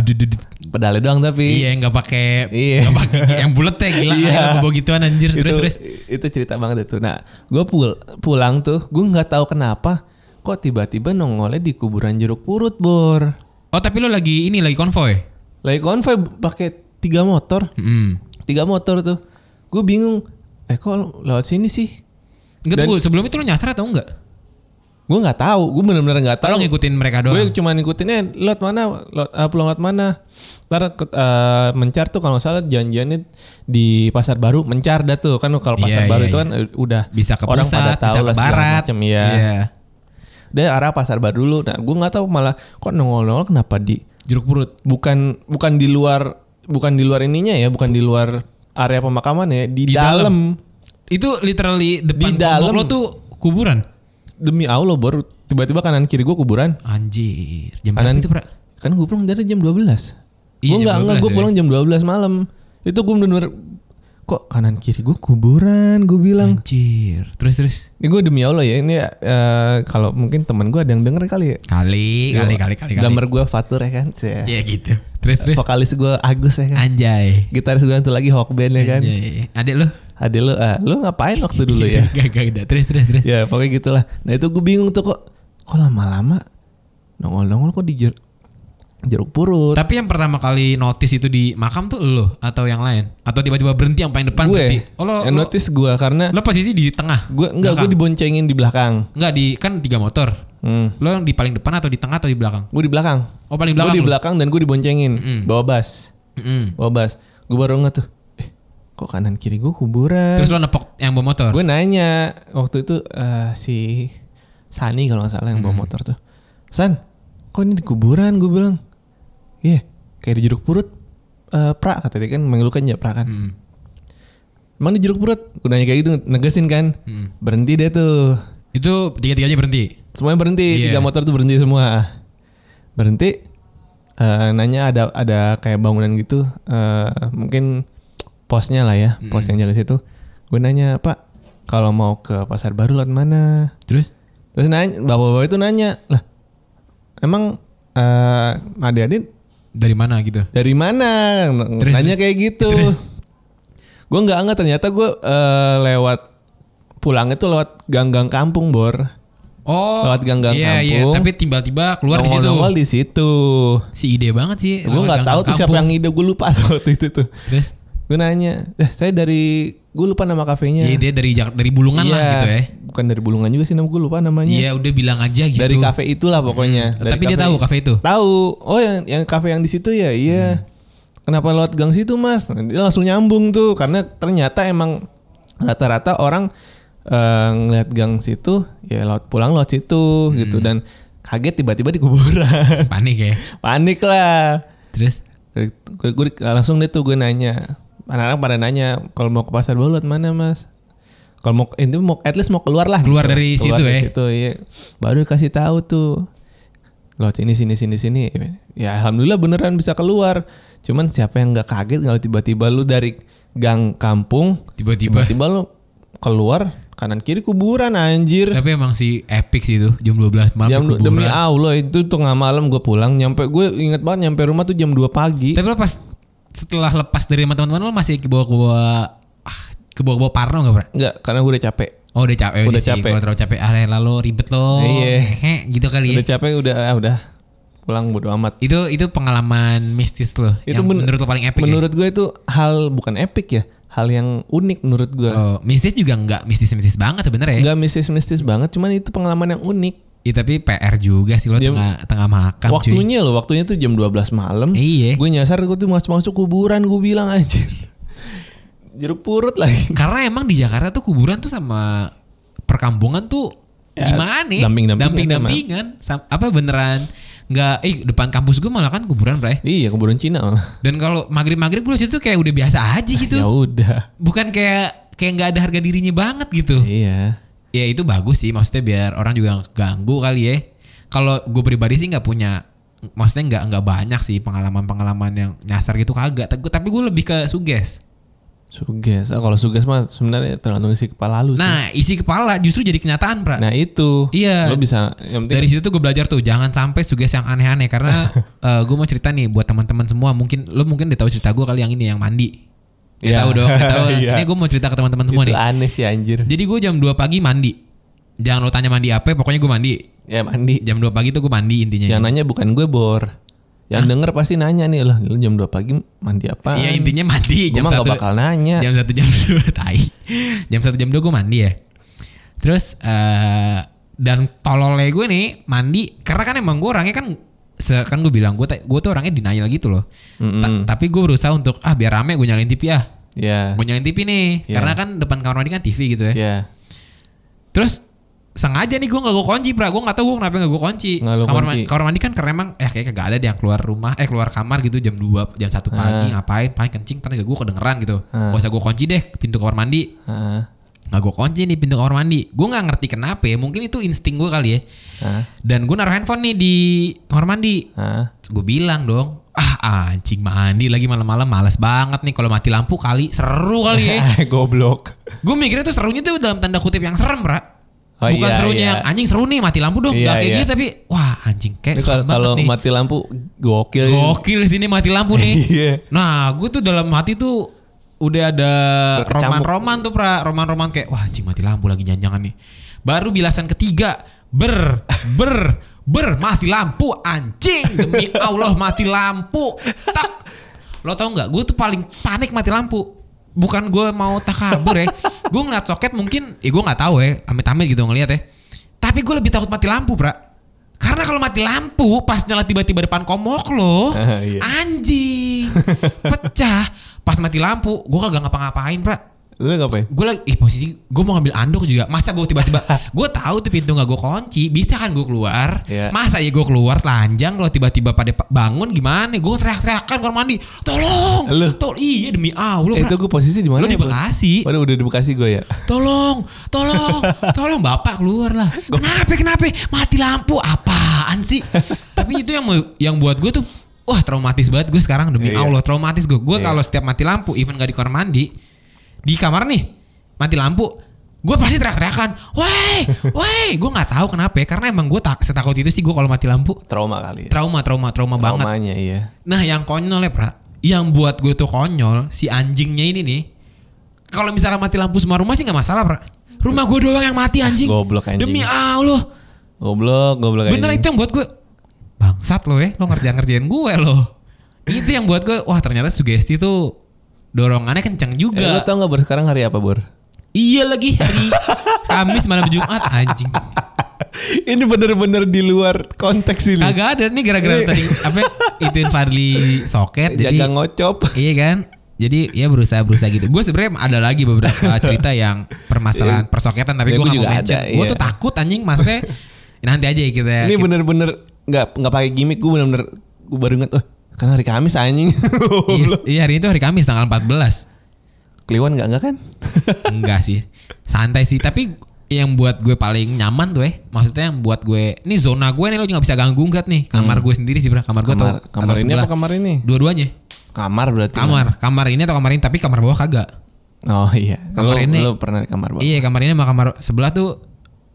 [SPEAKER 2] pedalnya doang tapi
[SPEAKER 1] Iya nggak pakai
[SPEAKER 2] Iya.
[SPEAKER 1] nggak pakai yang bulat ya gila
[SPEAKER 2] Iya.
[SPEAKER 1] iya. bawa gituan anjir terus terus
[SPEAKER 2] itu cerita banget itu nah gue pul pulang tuh gue nggak tahu kenapa kok tiba-tiba nongolnya di kuburan jeruk purut bor
[SPEAKER 1] oh tapi lo lagi ini lagi konvoy
[SPEAKER 2] lagi konvoy pakai tiga motor
[SPEAKER 1] Mm.
[SPEAKER 2] tiga motor tuh gue bingung eh kok lewat sini sih
[SPEAKER 1] Enggak tunggu sebelum itu lo nyasar atau enggak
[SPEAKER 2] gue nggak tahu gue bener-bener nggak
[SPEAKER 1] atau
[SPEAKER 2] tahu
[SPEAKER 1] lo ngikutin mereka
[SPEAKER 2] gue
[SPEAKER 1] doang
[SPEAKER 2] cuma ngikutinnya lewat mana lewat, eh, pulang lewat mana ntar ke- eh, mencar tuh kalau nggak salah janjiannya di pasar baru mencar dah tuh kan kalau pasar
[SPEAKER 1] Iya,
[SPEAKER 2] baru
[SPEAKER 1] iya,
[SPEAKER 2] itu
[SPEAKER 1] iya.
[SPEAKER 2] kan eh, udah
[SPEAKER 1] bisa ke
[SPEAKER 2] orang pada
[SPEAKER 1] pusat bisa
[SPEAKER 2] tahu
[SPEAKER 1] ke
[SPEAKER 2] lah segala
[SPEAKER 1] barat Iya.
[SPEAKER 2] macem, ya. Dia arah pasar baru dulu. Nah, gue nggak tahu malah kok nongol-nongol kenapa di
[SPEAKER 1] jeruk purut
[SPEAKER 2] bukan bukan di luar bukan di luar ininya ya, bukan di luar area pemakaman ya di,
[SPEAKER 1] Di
[SPEAKER 2] dalam.
[SPEAKER 1] dalam. Itu literally depan
[SPEAKER 2] Di dalam.
[SPEAKER 1] tembok lo tuh kuburan.
[SPEAKER 2] Demi Allah baru tiba-tiba kanan kiri gue kuburan.
[SPEAKER 1] Anjir. Jam berapa
[SPEAKER 2] Kanan
[SPEAKER 1] itu, Pra?
[SPEAKER 2] Kan gue pulang dari jam 12.
[SPEAKER 1] Iya,
[SPEAKER 2] gue
[SPEAKER 1] jam
[SPEAKER 2] enggak enggak
[SPEAKER 1] 12
[SPEAKER 2] gue
[SPEAKER 1] ya.
[SPEAKER 2] pulang jam 12 malam. Itu gue bener kok kanan kiri gue kuburan, gue bilang.
[SPEAKER 1] Hmm. Anjir. Terus terus.
[SPEAKER 2] Ini gue demi Allah ya, ini eh, kalau mungkin teman gue ada yang denger kali ya.
[SPEAKER 1] Kali, Iya, kali, kali, kali, kali.
[SPEAKER 2] Drummer gue Fatur ya kan. Cih.
[SPEAKER 1] Ya gitu. Terus terus.
[SPEAKER 2] Vokalis gue Agus ya kan.
[SPEAKER 1] Anjay.
[SPEAKER 2] Gitaris gue tuh lagi Hawkband ya kan.
[SPEAKER 1] Anjay. Adek lo?
[SPEAKER 2] Adek lu, ah, lu ngapain waktu dulu ya?
[SPEAKER 1] gak, gak, gak. Terus terus terus.
[SPEAKER 2] ya pokoknya gitulah. Nah itu gue bingung tuh kok kok lama-lama nongol-nongol kok di jer- jeruk purut.
[SPEAKER 1] Tapi yang pertama kali notice itu di makam tuh lo atau yang lain? Atau tiba-tiba berhenti yang paling depan berhenti?
[SPEAKER 2] gue
[SPEAKER 1] Oh, lo,
[SPEAKER 2] yang
[SPEAKER 1] lo,
[SPEAKER 2] Eh, notice gue karena
[SPEAKER 1] lo posisi di tengah?
[SPEAKER 2] gue enggak gue
[SPEAKER 1] Belakang.
[SPEAKER 2] diboncengin di belakang.
[SPEAKER 1] Enggak, di, kan tiga motor.
[SPEAKER 2] Hmm.
[SPEAKER 1] Lo yang di paling depan atau di tengah atau di belakang?
[SPEAKER 2] Gue di belakang.
[SPEAKER 1] Oh paling
[SPEAKER 2] Gue
[SPEAKER 1] belakang
[SPEAKER 2] di
[SPEAKER 1] lo?
[SPEAKER 2] belakang dan gue diboncengin
[SPEAKER 1] Mm-mm.
[SPEAKER 2] bawa bas.
[SPEAKER 1] Mm-mm.
[SPEAKER 2] Bawa bas. Gue baru nggak tuh. Eh, kok kanan kiri gue kuburan.
[SPEAKER 1] Terus lo nepok yang bawa motor?
[SPEAKER 2] Gue nanya waktu itu eh, si Sani kalau nggak salah yang
[SPEAKER 1] Hmm.
[SPEAKER 2] bawa motor tuh. San, kok ini di kuburan? Gue bilang, iya kayak di jeruk purut. Eh, pra kata dia kan manggil lu kan ya pra kan.
[SPEAKER 1] Mm.
[SPEAKER 2] Emang di jeruk purut? Gue nanya kayak gitu negesin kan.
[SPEAKER 1] Mm.
[SPEAKER 2] Berhenti deh tuh.
[SPEAKER 1] Itu tiga-tiganya berhenti?
[SPEAKER 2] Semuanya berhenti.
[SPEAKER 1] Iya.
[SPEAKER 2] Tiga motor tuh berhenti semua. Berhenti. eh, nanya ada ada kayak bangunan gitu. eh, mungkin posnya lah ya. Pos
[SPEAKER 1] Hmm.
[SPEAKER 2] yang jaga situ. Gue nanya Pak, kalau mau ke pasar baru lewat mana?
[SPEAKER 1] Terus?
[SPEAKER 2] Terus nanya, bapak-bapak itu nanya, lah emang eh adik-adik
[SPEAKER 1] Dari mana gitu?
[SPEAKER 2] dari mana?
[SPEAKER 1] Terus,
[SPEAKER 2] nanya kayak gitu.
[SPEAKER 1] Terus?
[SPEAKER 2] Gue nggak nggak ternyata gue eh, lewat pulang itu lewat gang-gang kampung bor.
[SPEAKER 1] Oh,
[SPEAKER 2] Lewat gang-gang
[SPEAKER 1] iya, iya.
[SPEAKER 2] kampung.
[SPEAKER 1] Tapi tiba-tiba keluar di situ. Iya,
[SPEAKER 2] Nongol-nongol di situ.
[SPEAKER 1] Si ide banget sih.
[SPEAKER 2] Gue nggak tahu tuh siapa yang ngide gue lupa waktu itu tuh.
[SPEAKER 1] Terus?
[SPEAKER 2] Gue nanya, eh, saya dari gue lupa nama kafenya.
[SPEAKER 1] Iya, dia dari Jak- dari Bulungan lah
[SPEAKER 2] Iya,
[SPEAKER 1] gitu ya.
[SPEAKER 2] Bukan dari Bulungan juga sih nama gue lupa namanya.
[SPEAKER 1] Iya, udah bilang aja gitu.
[SPEAKER 2] Dari kafe itulah pokoknya. Dari
[SPEAKER 1] Tapi dia
[SPEAKER 2] kafe
[SPEAKER 1] tahu kafe itu.
[SPEAKER 2] Tahu. Oh yang yang kafe yang di situ ya, iya. Kenapa lewat gang situ mas? Nah, Dia langsung nyambung tuh karena ternyata emang rata-rata orang eh, ngeliat gang situ ya lewat pulang lewat situ gitu dan kaget tiba-tiba di kuburan.
[SPEAKER 1] Panik ya.
[SPEAKER 2] Panik lah.
[SPEAKER 1] Terus
[SPEAKER 2] Gue, gue- langsung deh tuh gue nanya. Anak-anak pada nanya kalau mau ke pasar baru lewat mana mas? Kalau mau itu mau at least mau keluar lah.
[SPEAKER 1] Keluar dari situ,
[SPEAKER 2] dari
[SPEAKER 1] eh.
[SPEAKER 2] situ, iya. Baru kasih tahu tuh. Lewat sini sini sini sini. Ya alhamdulillah beneran bisa keluar. Cuman siapa yang nggak kaget kalau tiba-tiba lu dari gang kampung
[SPEAKER 1] tiba-tiba.
[SPEAKER 2] tiba-tiba lu keluar kanan kiri kuburan anjir.
[SPEAKER 1] Tapi emang si epic sih itu jam 12 malam
[SPEAKER 2] Jam
[SPEAKER 1] di kuburan.
[SPEAKER 2] demi Allah itu tengah malam gue pulang nyampe gue inget banget nyampe rumah tuh jam 2 pagi.
[SPEAKER 1] Tapi lo pas setelah lepas dari sama teman-teman lo masih ke bawah ke bawah ah, ke bawah ke bawah parno gak, Bra?
[SPEAKER 2] Enggak, karena gue udah capek.
[SPEAKER 1] Oh udah capek
[SPEAKER 2] Udah
[SPEAKER 1] sih.
[SPEAKER 2] capek.
[SPEAKER 1] Kalau terlalu capek ah rela lo ribet lo.
[SPEAKER 2] Iya.
[SPEAKER 1] Hehe, gitu kali ya.
[SPEAKER 2] Udah capek udah ah, udah pulang bodo amat.
[SPEAKER 1] Itu itu pengalaman mistis lo.
[SPEAKER 2] Itu
[SPEAKER 1] yang
[SPEAKER 2] men-
[SPEAKER 1] menurut lo paling epic ya?
[SPEAKER 2] menurut gue itu hal bukan epic ya, hal yang unik menurut gue.
[SPEAKER 1] Oh, mistis juga nggak mistis-mistis banget sebenarnya. ya.
[SPEAKER 2] Enggak mistis-mistis banget, cuman itu pengalaman yang unik.
[SPEAKER 1] Iya tapi PR juga sih lo
[SPEAKER 2] Dia-
[SPEAKER 1] tengah tengah makan cuy.
[SPEAKER 2] waktunya loh, waktunya tuh jam 12 malam.
[SPEAKER 1] Iya.
[SPEAKER 2] Gue nyasar gue tuh masuk masuk kuburan gue bilang anjir. Jeruk purut lagi.
[SPEAKER 1] Karena emang di Jakarta tuh kuburan tuh sama perkampungan tuh
[SPEAKER 2] Ya,
[SPEAKER 1] gimana nih?
[SPEAKER 2] damping-dampingan
[SPEAKER 1] dampingan. Sam- Apa beneran nggak? Eh depan kampus gue malah kan kuburan bray.
[SPEAKER 2] Iya, kuburan Cina malah.
[SPEAKER 1] Dan kalau maghrib maghrib gue situ kayak udah biasa aja gitu.
[SPEAKER 2] Ya udah.
[SPEAKER 1] Bukan kayak kayak nggak ada harga dirinya banget gitu.
[SPEAKER 2] Iya.
[SPEAKER 1] Ya itu bagus sih maksudnya biar orang juga nggak ganggu kali ya. Kalau gue pribadi sih nggak punya maksudnya nggak nggak banyak sih pengalaman-pengalaman yang nyasar gitu kagak. Tapi- Tapi gue lebih ke suges.
[SPEAKER 2] Suges. Ah, kalau suges mah sebenarnya tergantung isi kepala lu sih.
[SPEAKER 1] Nah isi kepala justru jadi kenyataan pra.
[SPEAKER 2] Nah, itu.
[SPEAKER 1] Iya.
[SPEAKER 2] Lo bisa yang penting
[SPEAKER 1] Dari situ tuh gue belajar tuh jangan sampai suges yang aneh-aneh karena gue mau cerita nih buat teman-teman semua mungkin lo mungkin udah tahu cerita gue kali yang ini yang mandi. Udah
[SPEAKER 2] Iya.
[SPEAKER 1] tahu dong, udah tahu.
[SPEAKER 2] Iya. Gitu
[SPEAKER 1] Ini gue mau cerita ke teman-teman semua
[SPEAKER 2] itu
[SPEAKER 1] nih.
[SPEAKER 2] aneh sih anjir.
[SPEAKER 1] Jadi gue jam 2 pagi mandi. Jangan lo tanya mandi apa, pokoknya gue mandi.
[SPEAKER 2] Ya mandi.
[SPEAKER 1] Jam 2 pagi tuh gue mandi intinya.
[SPEAKER 2] Yang nanya bukan gue bor. Yang denger pasti nanya nih lah, lu jam 2 pagi mandi apa?
[SPEAKER 1] Iya intinya mandi jam
[SPEAKER 2] mah gak
[SPEAKER 1] satu.
[SPEAKER 2] bakal Ya. nanya.
[SPEAKER 1] Jam satu jam dua tai. Jam satu jam dua gue mandi ya. Terus eh dan tololnya gue nih mandi karena kan emang gue orangnya kan se- kan gue bilang gue ta- gue tuh orangnya denial gitu loh. Ta-
[SPEAKER 2] Mm-mm.
[SPEAKER 1] tapi gue berusaha untuk ah biar rame gue nyalain TV ah.
[SPEAKER 2] Ya.
[SPEAKER 1] Gue nyalain TV nih
[SPEAKER 2] Iya.
[SPEAKER 1] karena kan depan kamar mandi kan TV gitu ya.
[SPEAKER 2] Ya.
[SPEAKER 1] Terus sengaja nih gue gak gue kunci pra gue gak tau gue kenapa gak gue kunci
[SPEAKER 2] Nggak lu
[SPEAKER 1] kamar
[SPEAKER 2] kunci.
[SPEAKER 1] mandi, kamar mandi kan karena emang eh kayak kagak ada deh yang keluar rumah eh keluar kamar gitu jam 2 jam 1 pagi
[SPEAKER 2] Ah.
[SPEAKER 1] ngapain paling kencing ternyata gue kedengeran gitu
[SPEAKER 2] Ah.
[SPEAKER 1] gak usah gue kunci deh pintu kamar mandi
[SPEAKER 2] Heeh.
[SPEAKER 1] Nah gue kunci nih pintu kamar mandi Gue gak ngerti kenapa ya Mungkin itu insting gue kali ya
[SPEAKER 2] Heeh.
[SPEAKER 1] Dan gue naruh handphone nih di kamar mandi
[SPEAKER 2] Heeh.
[SPEAKER 1] Gue bilang dong Ah anjing mandi lagi malam-malam males banget nih Kalau mati lampu kali seru kali ya
[SPEAKER 2] Goblok.
[SPEAKER 1] Gue mikirnya tuh serunya tuh dalam tanda kutip yang serem Ra
[SPEAKER 2] Oh,
[SPEAKER 1] Bukan
[SPEAKER 2] iya,
[SPEAKER 1] serunya
[SPEAKER 2] iya.
[SPEAKER 1] yang anjing seru nih mati lampu dong
[SPEAKER 2] Iya,
[SPEAKER 1] Gak kayak
[SPEAKER 2] iya.
[SPEAKER 1] gitu tapi Wah anjing kayak
[SPEAKER 2] Ini
[SPEAKER 1] serem
[SPEAKER 2] kalau- Kalau
[SPEAKER 1] banget nih
[SPEAKER 2] mati lampu gokil.
[SPEAKER 1] Gokil sini mati lampu nih
[SPEAKER 2] Iya.
[SPEAKER 1] Nah gue tuh dalam hati tuh udah ada
[SPEAKER 2] Berkecamuk.
[SPEAKER 1] roman-roman tuh pra roman-roman kayak wah anjing mati lampu lagi jangan-jangan nih baru bilasan ketiga ber ber ber mati lampu anjing demi Allah mati lampu tak lo tau nggak gue tuh paling panik mati lampu bukan gue mau takabur ya gue ngeliat soket mungkin eh gue nggak tahu ya amit-amit gitu ngeliat ya tapi gue lebih takut mati lampu pra karena kalau mati lampu pas nyala tiba-tiba depan komok lo
[SPEAKER 2] Ah, iya.
[SPEAKER 1] Oh, anjing pecah pas mati lampu gue kagak ngapa-ngapain pra
[SPEAKER 2] Lu ngapain?
[SPEAKER 1] gue lagi ih posisi gue mau ngambil anduk juga masa gue tiba-tiba gue tahu tuh pintu nggak gue kunci bisa kan gue keluar
[SPEAKER 2] Iya.
[SPEAKER 1] masa ya gue keluar telanjang kalau tiba-tiba pada pa- bangun gimana gue teriak-teriakan kamar mandi tolong
[SPEAKER 2] Lu?
[SPEAKER 1] tolong iya demi allah
[SPEAKER 2] Eh,
[SPEAKER 1] Pra.
[SPEAKER 2] itu gue posisi di
[SPEAKER 1] Lu
[SPEAKER 2] mana?
[SPEAKER 1] di
[SPEAKER 2] ya, Bang?
[SPEAKER 1] Bekasi
[SPEAKER 2] Waduh udah di Bekasi gue ya.
[SPEAKER 1] tolong, tolong, tolong bapak keluar lah. Kenapa, kenapa? Mati lampu apaan sih? Tapi itu yang yang buat gue tuh, wah traumatis banget gue sekarang demi
[SPEAKER 2] Iya.
[SPEAKER 1] Allah traumatis gue. Gue
[SPEAKER 2] Iya.
[SPEAKER 1] kalau setiap mati lampu, even gak di kamar mandi, di kamar nih mati lampu, gue pasti teriak-teriakan, woi, woi, gue nggak tahu kenapa ya, karena emang gue tak setakut itu sih gue kalau mati lampu
[SPEAKER 2] Trauma kali ya.
[SPEAKER 1] trauma, trauma, trauma banget.
[SPEAKER 2] Traumanya iya.
[SPEAKER 1] Nah yang konyol ya pra Yang buat gue tuh konyol Si anjingnya ini nih Kalau misalkan mati lampu semua rumah sih gak masalah pra Rumah gue doang yang mati anjing
[SPEAKER 2] Goblok, anjing.
[SPEAKER 1] Demi Allah
[SPEAKER 2] Goblok, goblok
[SPEAKER 1] Bener itu yang buat gue Bangsat lo ya Lo ngerjain-ngerjain gue lo Itu yang buat gue Wah ternyata sugesti tuh Dorongannya kenceng
[SPEAKER 2] Eh, lu
[SPEAKER 1] juga
[SPEAKER 2] tau gak Bor sekarang hari apa Bor?
[SPEAKER 1] Iya lagi hari Kamis malam Jumat anjing
[SPEAKER 2] ini bener-bener di luar konteks ini.
[SPEAKER 1] Kagak ada nih gara-gara
[SPEAKER 2] Ini-
[SPEAKER 1] tadi Apa Ituin Fadli soket
[SPEAKER 2] Jaga
[SPEAKER 1] Jadi
[SPEAKER 2] ngocop.
[SPEAKER 1] Iya kan? Jadi ya berusaha berusaha gitu. Gue sebenarnya ada lagi beberapa cerita yang permasalahan persoketan tapi
[SPEAKER 2] Ya,
[SPEAKER 1] gue
[SPEAKER 2] gua
[SPEAKER 1] nggak mau
[SPEAKER 2] juga
[SPEAKER 1] mention.
[SPEAKER 2] ada,
[SPEAKER 1] Gue
[SPEAKER 2] iya.
[SPEAKER 1] tuh takut anjing maksudnya nanti aja ya kita.
[SPEAKER 2] ini
[SPEAKER 1] kita-
[SPEAKER 2] bener-bener nggak nggak pakai gimmick gue bener-bener gue baru inget, oh karena hari Kamis anjing.
[SPEAKER 1] Iya, Iya hari itu hari Kamis tanggal 14.
[SPEAKER 2] Kliwon nggak nggak kan?
[SPEAKER 1] Enggak sih. Santai sih tapi yang buat gue paling nyaman tuh eh maksudnya yang buat gue ini zona gue nih lo nggak bisa ganggu nggak nih kamar gue sendiri sih bro kamar gue
[SPEAKER 2] Hmm. kamar
[SPEAKER 1] atau
[SPEAKER 2] kamar
[SPEAKER 1] atau
[SPEAKER 2] ini
[SPEAKER 1] sebelah.
[SPEAKER 2] apa kamar ini?
[SPEAKER 1] dua-duanya
[SPEAKER 2] Kamar berarti.
[SPEAKER 1] kamar kamar ini atau kamar ini tapi kamar bawah kagak
[SPEAKER 2] Oh iya.
[SPEAKER 1] Kamar
[SPEAKER 2] Lu-
[SPEAKER 1] ini.
[SPEAKER 2] Lu pernah di kamar bawah.
[SPEAKER 1] Iya kamar ini sama kamar sebelah tuh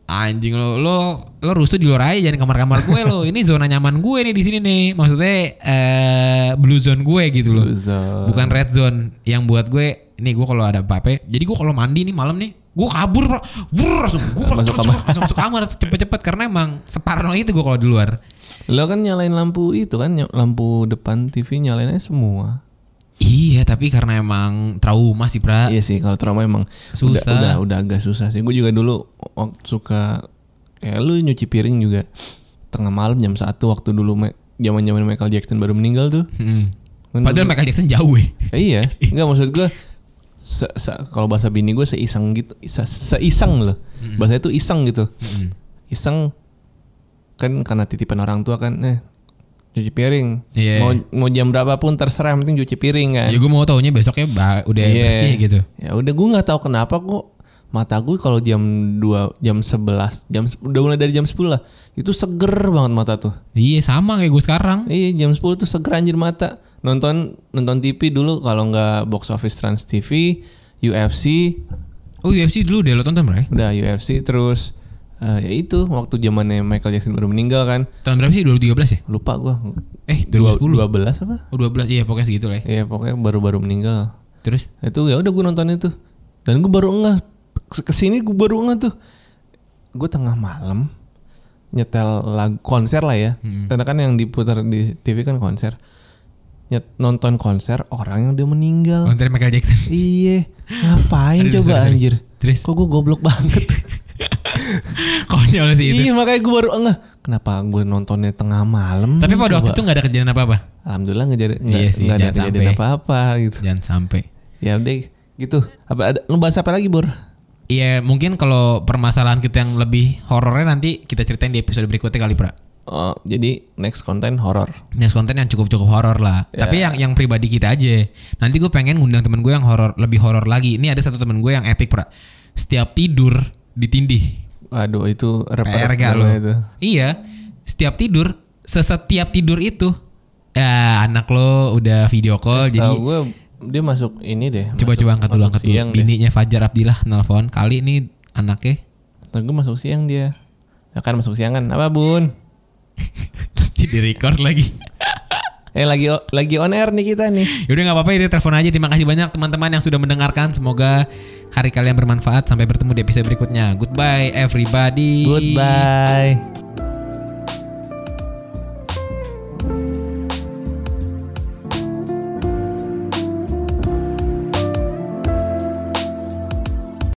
[SPEAKER 1] anjing lo lo lo rusuh di luar aja jangan kamar-kamar gue lo ini zona nyaman gue nih di sini nih maksudnya eh blue zone gue gitu loh
[SPEAKER 2] Blue zone.
[SPEAKER 1] bukan red zone yang buat gue ini gue kalau ada apa-apa jadi gue kalau mandi nih malam nih gue kabur bro Wur, langsung gue
[SPEAKER 2] Masuk kamar.
[SPEAKER 1] langsung masuk kamar cepet-cepet karena emang separno itu gue kalau di luar
[SPEAKER 2] Lo kan nyalain lampu itu kan ny- lampu depan TV nyalainnya semua.
[SPEAKER 1] iya tapi karena emang trauma sih pra
[SPEAKER 2] Iya sih kalau trauma emang
[SPEAKER 1] Ah. Susah.
[SPEAKER 2] Udah, udah udah agak susah sih. Gue juga dulu waktu suka kayak lu nyuci piring juga tengah malam jam satu waktu dulu Ma- zaman-zaman Michael Jackson baru meninggal tuh.
[SPEAKER 1] Mm.
[SPEAKER 2] Kan
[SPEAKER 1] padahal
[SPEAKER 2] dulu-
[SPEAKER 1] Michael Jackson jauh ya
[SPEAKER 2] Eh, iya, enggak maksud gue se- se- kalau bahasa bini gue seiseng gitu, se- seiseng loh. Bahasanya tuh iseng gitu.
[SPEAKER 1] Mm-mm.
[SPEAKER 2] Iseng kan karena titipan orang tua kan eh cuci piring.
[SPEAKER 1] Iya.
[SPEAKER 2] Mau mau jam berapapun terserah yang penting cuci piring kan.
[SPEAKER 1] ya gue mau taunya besoknya bah, udah
[SPEAKER 2] Iya.
[SPEAKER 1] bersih gitu
[SPEAKER 2] Ya udah gue nggak tahu kenapa kok mata gue kalau jam 2 jam 11 jam se- udah mulai dari jam 10 lah itu seger banget mata tuh.
[SPEAKER 1] Iya sama kayak gue sekarang.
[SPEAKER 2] Iya jam 10 tuh seger anjir mata. Nonton nonton TV dulu kalau nggak box office Trans TV, UFC,
[SPEAKER 1] Oh UFC dulu deh lo tonton berapa? ya?
[SPEAKER 2] udah UFC terus eh, ya itu waktu zamannya Michael Jackson baru meninggal kan.
[SPEAKER 1] Tahun berapa sih? 2013 ya?
[SPEAKER 2] Lupa gua.
[SPEAKER 1] Eh
[SPEAKER 2] Dua-
[SPEAKER 1] 2010.
[SPEAKER 2] 12 apa?
[SPEAKER 1] Oh 12 iya pokoknya segitu lah. Ya.
[SPEAKER 2] Iya pokoknya baru-baru meninggal.
[SPEAKER 1] Terus
[SPEAKER 2] itu ya udah gue nonton itu dan gue baru ngeh kesini gue baru ngeh tuh gue tengah malam nyetel lagu konser lah ya
[SPEAKER 1] Hmm.
[SPEAKER 2] karena kan yang diputar di TV kan konser Nyet, nonton konser orang yang udah meninggal
[SPEAKER 1] konser Michael Jackson.
[SPEAKER 2] iya ngapain
[SPEAKER 1] Aduh,
[SPEAKER 2] coba
[SPEAKER 1] sorry, sorry.
[SPEAKER 2] anjir
[SPEAKER 1] Terus?
[SPEAKER 2] kok gue goblok banget
[SPEAKER 1] Konyol sih itu.
[SPEAKER 2] iya makanya gue baru ngeh kenapa gue nontonnya tengah malam
[SPEAKER 1] Tapi pada waktu
[SPEAKER 2] coba.
[SPEAKER 1] itu nggak ada kejadian apa-apa.
[SPEAKER 2] alhamdulillah nggak jadi- nggak
[SPEAKER 1] Iya sih,
[SPEAKER 2] nggak ada
[SPEAKER 1] jangan sampai.
[SPEAKER 2] kejadian
[SPEAKER 1] Ya.
[SPEAKER 2] apa apa gitu
[SPEAKER 1] Jangan sampai.
[SPEAKER 2] ya udah gitu apa ada lu bahas apa lagi bor
[SPEAKER 1] Iya mungkin kalau permasalahan kita yang lebih horornya nanti kita ceritain di episode berikutnya kali pra.
[SPEAKER 2] Oh, jadi next konten horor.
[SPEAKER 1] Next konten yang cukup cukup horor lah.
[SPEAKER 2] Iya.
[SPEAKER 1] Tapi yang yang pribadi kita aja. Nanti gue pengen ngundang temen gue yang horor lebih horor lagi. Ini ada satu temen gue yang epic pra. Setiap tidur ditindih.
[SPEAKER 2] Aduh itu
[SPEAKER 1] PR
[SPEAKER 2] repot
[SPEAKER 1] gak lo?
[SPEAKER 2] banget itu.
[SPEAKER 1] Iya. Setiap tidur, sesetiap tidur itu, ya anak lo udah video call. jadi
[SPEAKER 2] Tahu gue dia masuk ini deh.
[SPEAKER 1] coba-coba
[SPEAKER 2] masuk-
[SPEAKER 1] angkat dulu
[SPEAKER 2] masuk
[SPEAKER 1] angkat dulu.
[SPEAKER 2] siang deh.
[SPEAKER 1] Bininya Fajar Abdillah nelfon. Kali ini anaknya
[SPEAKER 2] Ntar gue masuk siang dia. Ya kan masuk siangan. Apa bun?
[SPEAKER 1] nanti di record lagi.
[SPEAKER 2] Eh lagi o- lagi on air nih kita nih.
[SPEAKER 1] Yaudah Ya nggak apa-apa itu telepon aja. Terima kasih banyak teman-teman yang sudah mendengarkan. Semoga hari kalian bermanfaat. Sampai bertemu di episode berikutnya. Goodbye everybody.
[SPEAKER 2] Goodbye.